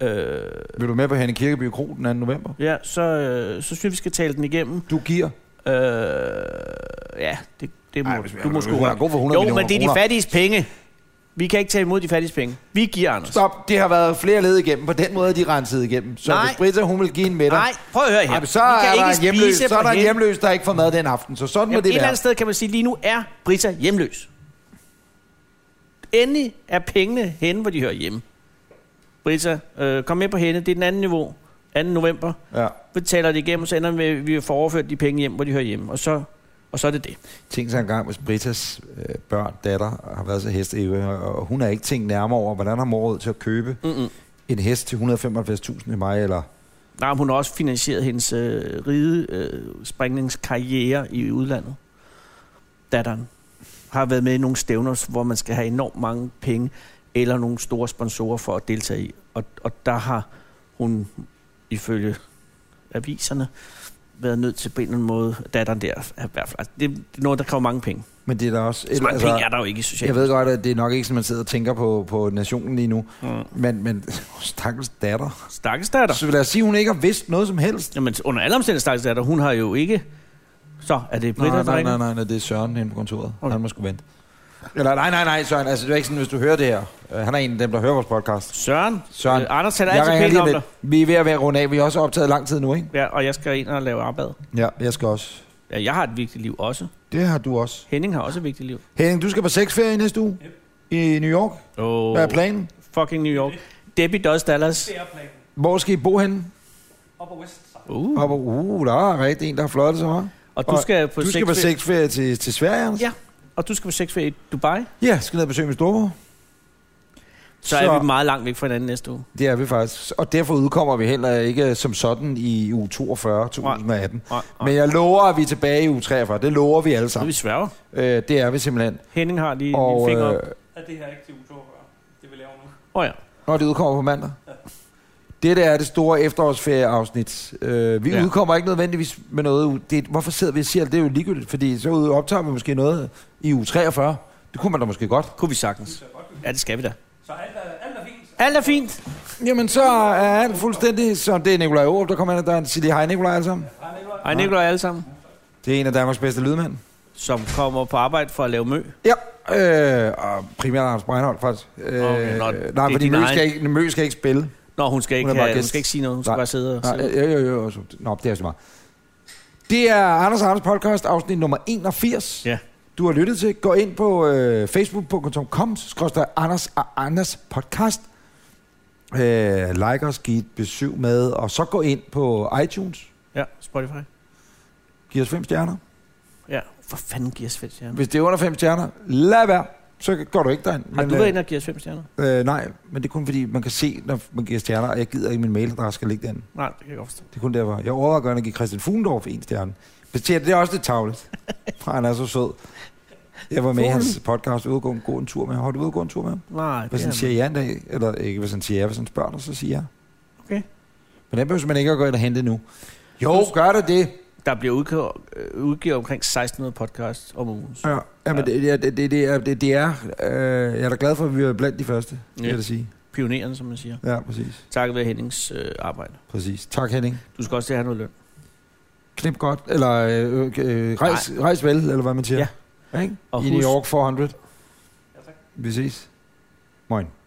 S2: øh,
S1: Vil du med på Hanne Kirkeby Kro den 2. november?
S2: ja, så, øh, så synes jeg, vi skal tale den igennem.
S1: Du giver.
S2: Øh, ja, det, det må,
S1: Ej,
S2: Ej,
S1: hvis vi-
S2: du må
S1: hvis
S2: sgu
S1: vi er god for 100
S2: Jo,
S1: millioner
S2: men det er de
S1: kroner.
S2: fattiges penge. Vi kan ikke tage imod de fattiges penge. Vi giver, Anders.
S1: Stop, det har været flere led igennem. På den måde er de renset igennem. Så
S2: Nej.
S1: hvis Britta, hun vil give en middag,
S2: Nej, prøv at høre her.
S1: jamen, så, er der en hjemløs, så er der en
S2: hende.
S1: hjemløs, der ikke får mad den aften. Så sådan må
S2: Jamen,
S1: det
S2: et eller
S1: være.
S2: andet sted kan man sige, lige nu er Brita hjemløs. Endelig er pengene henne, hvor de hører hjemme. Brita, øh, kom med på hende. Det er den anden niveau. 2. november.
S1: Ja.
S2: Vi taler det igennem, så ender vi med, at vi får overført de penge hjem, hvor de hører hjemme. Og så, og så er det det.
S1: Tænk sig engang, hvis Britas øh, børn, datter, har været så hesteeve, og hun er ikke tænkt nærmere over, hvordan har mor råd til at købe
S2: Mm-mm.
S1: en hest til 175.000 i mig, eller...
S2: Nej, men hun har også finansieret hendes øh, ride øh, springningskarriere i udlandet. Datteren har været med i nogle stævner, hvor man skal have enormt mange penge eller nogle store sponsorer for at deltage i. Og, og der har hun ifølge aviserne været nødt til på en eller anden måde, datteren der er i hvert fald. Altså, det, det er noget, der kræver mange penge.
S1: Men det er da også...
S2: Så mange altså, penge er der jo ikke i socialt.
S1: jeg ved godt, at det er nok ikke, som man sidder og tænker på, på nationen lige nu,
S2: Mm.
S1: men, men <laughs> stakkels datter.
S2: Stakkels datter.
S1: Så vil jeg sige, at hun ikke har vidst noget som helst.
S2: Jamen, under alle omstændigheder, stakkels datter, hun har jo ikke Så, er det
S1: Nej,
S2: Britta,
S1: nej,
S2: der
S1: nej,
S2: ringer?
S1: nej, nej, det er Søren inde på kontoret. Okay.
S2: Okay.
S1: Han må sgu vente. Eller nej, nej, nej, Søren. Altså, det er ikke sådan, hvis du hører det her. Øh, han er en af dem, der hører vores podcast.
S2: Søren.
S1: Søren,
S2: Øh, Anders taler
S1: jeg
S2: altid
S1: ringer
S2: pænt
S1: lige
S2: om
S1: om
S2: dig.
S1: lidt. Vi er ved at være rundt af. Vi har også optaget lang tid nu, ikke?
S2: Ja, og jeg skal ind og lave arbejde.
S1: Ja, jeg skal også.
S2: Ja, jeg har et vigtigt liv også.
S1: Det har du også.
S2: Henning har også et vigtigt liv.
S1: Henning, du skal på sexferie næste uge
S3: Yep.
S1: i New York.
S2: Oh.
S1: Hvad er planen?
S2: Fucking New York. Debbie does Dallas.
S3: Det er planen.
S1: Hvor skal I bo henne?
S3: Op og vest. Så.
S2: Uh.
S1: Op, uh, der er rigtig en, der har flottet sig meget.
S2: Og du skal på
S1: Du skal på
S2: sexferie-
S1: sexferie til, til Sverige, Anders?
S2: Ja. Og du skal på sexferie i Dubai.
S1: ja skal ned og besøge min storebror.
S2: Så, så er vi meget langt væk fra hinanden næste uge.
S1: Det er vi faktisk. Og derfor udkommer vi heller ikke som sådan i uge 42, 2018.
S2: Nej, nej.
S1: Men jeg lover, at vi er tilbage i uge 43. Det lover vi alle
S2: Så vi
S1: sammen.
S2: sværger.
S1: Øh, det er vi simpelthen.
S2: Henning har lige en
S1: Og
S2: finger op.
S1: øh,
S3: Er det her ikke til uge 42? Det vil lave nu.
S2: Åh oh, ja.
S1: når det udkommer på mandag. Det der er det store efterårsferieafsnit. Øh, vi
S2: Ja.
S1: ja. udkommer ikke nødvendigvis med noget. u- Det, hvorfor sidder vi og siger, at det er jo ligegyldigt? Fordi så ud- optager vi måske noget i uge 43. Det kunne man da måske godt.
S2: Kunne vi sagtens. Ja, det skal vi da.
S3: Så alt er, alt er fint.
S2: Alt er fint.
S1: Jamen, så er alt fuldstændig som det er Nikolaj Aarup, der kommer ind ad døren. Sig lige hej, Nikolaj, alle sammen.
S3: Hej, Nicolaj.
S2: Hej Nikolaj alle sammen,
S1: Det er en af Danmarks bedste lydmænd.
S2: som kommer på arbejde for at lave mø.
S1: Ja, øh, og primært Anders Breinholt, faktisk. Øh,
S2: Okay, nå, det er
S1: nej, fordi
S2: din
S1: Mø
S2: egen-
S1: skal, ikke, Mø skal ikke spille.
S2: Nå, hun skal ikke,
S1: Hun er bare
S2: have, hun
S1: gæst.
S2: skal ikke sige noget. Hun skal
S1: Nej.
S2: bare sidde og
S1: Nej,
S2: sidde.
S1: jo, jo, jo. så- Nå, det er så meget. Det er Anders og Anders podcast, afsnit nummer 81.
S2: Ja.
S1: Du har lyttet til. Gå ind på øh, facebook.com, skrådstræk Anders og Anders podcast. Øh, like os, giv et besøg med, og så gå ind på iTunes.
S2: Ja, Spotify.
S1: Giv os fem stjerner.
S2: Ja, for fanden giver Svend stjerner.
S1: Hvis det er under fem stjerner, lad være. Så går du ikke derind.
S2: Har
S1: Men,
S2: du været inde og givet os fem stjerner?
S1: øh, øh, nej, men det er kun fordi, man kan se, når man giver stjerner, og jeg gider ikke min mailadresse skal ligge derinde.
S2: Nej, det kan jeg godt forstå.
S1: Det er kun derfor. Jeg overvejer gerne at give Christian Fuglendorf en stjerne. Men det det er også lidt
S2: <laughs>
S1: tavligt. For han er så sød. Jeg var med i hans podcast, ude at gå en, gå en tur med ham. Har du ude at gå en tur med ham?
S2: Nej, det
S1: Hvis han
S2: er
S1: siger ja en dag, eller ikke hvis han siger ja, hvis han spørger dig, så siger jeg.
S2: Okay.
S1: Men den behøver man ikke at gå ind og hente nu. Jo, gør det det.
S2: Der bliver udgivet, øh, udgivet omkring 1600 podcasts om ugen.
S1: Ja, ja men det, det, det, det, er- det, det er... Øh, jeg er da glad for, at vi er blandt de første, ja.
S2: Ja.
S1: vil jeg da sige.
S2: Pionerende, som man siger.
S1: Ja, præcis.
S2: Takket være Hennings øh, arbejde.
S1: præcis. Tak, Henning.
S2: Du skal også til at have noget løn.
S1: Knip godt, eller øh, øh, rejs, rejs vel, eller hvad man siger. Ja. Ikke?
S2: Og
S1: I
S2: husk-
S1: New York 400.
S3: Ja, tak.
S1: Vi ses. Moin.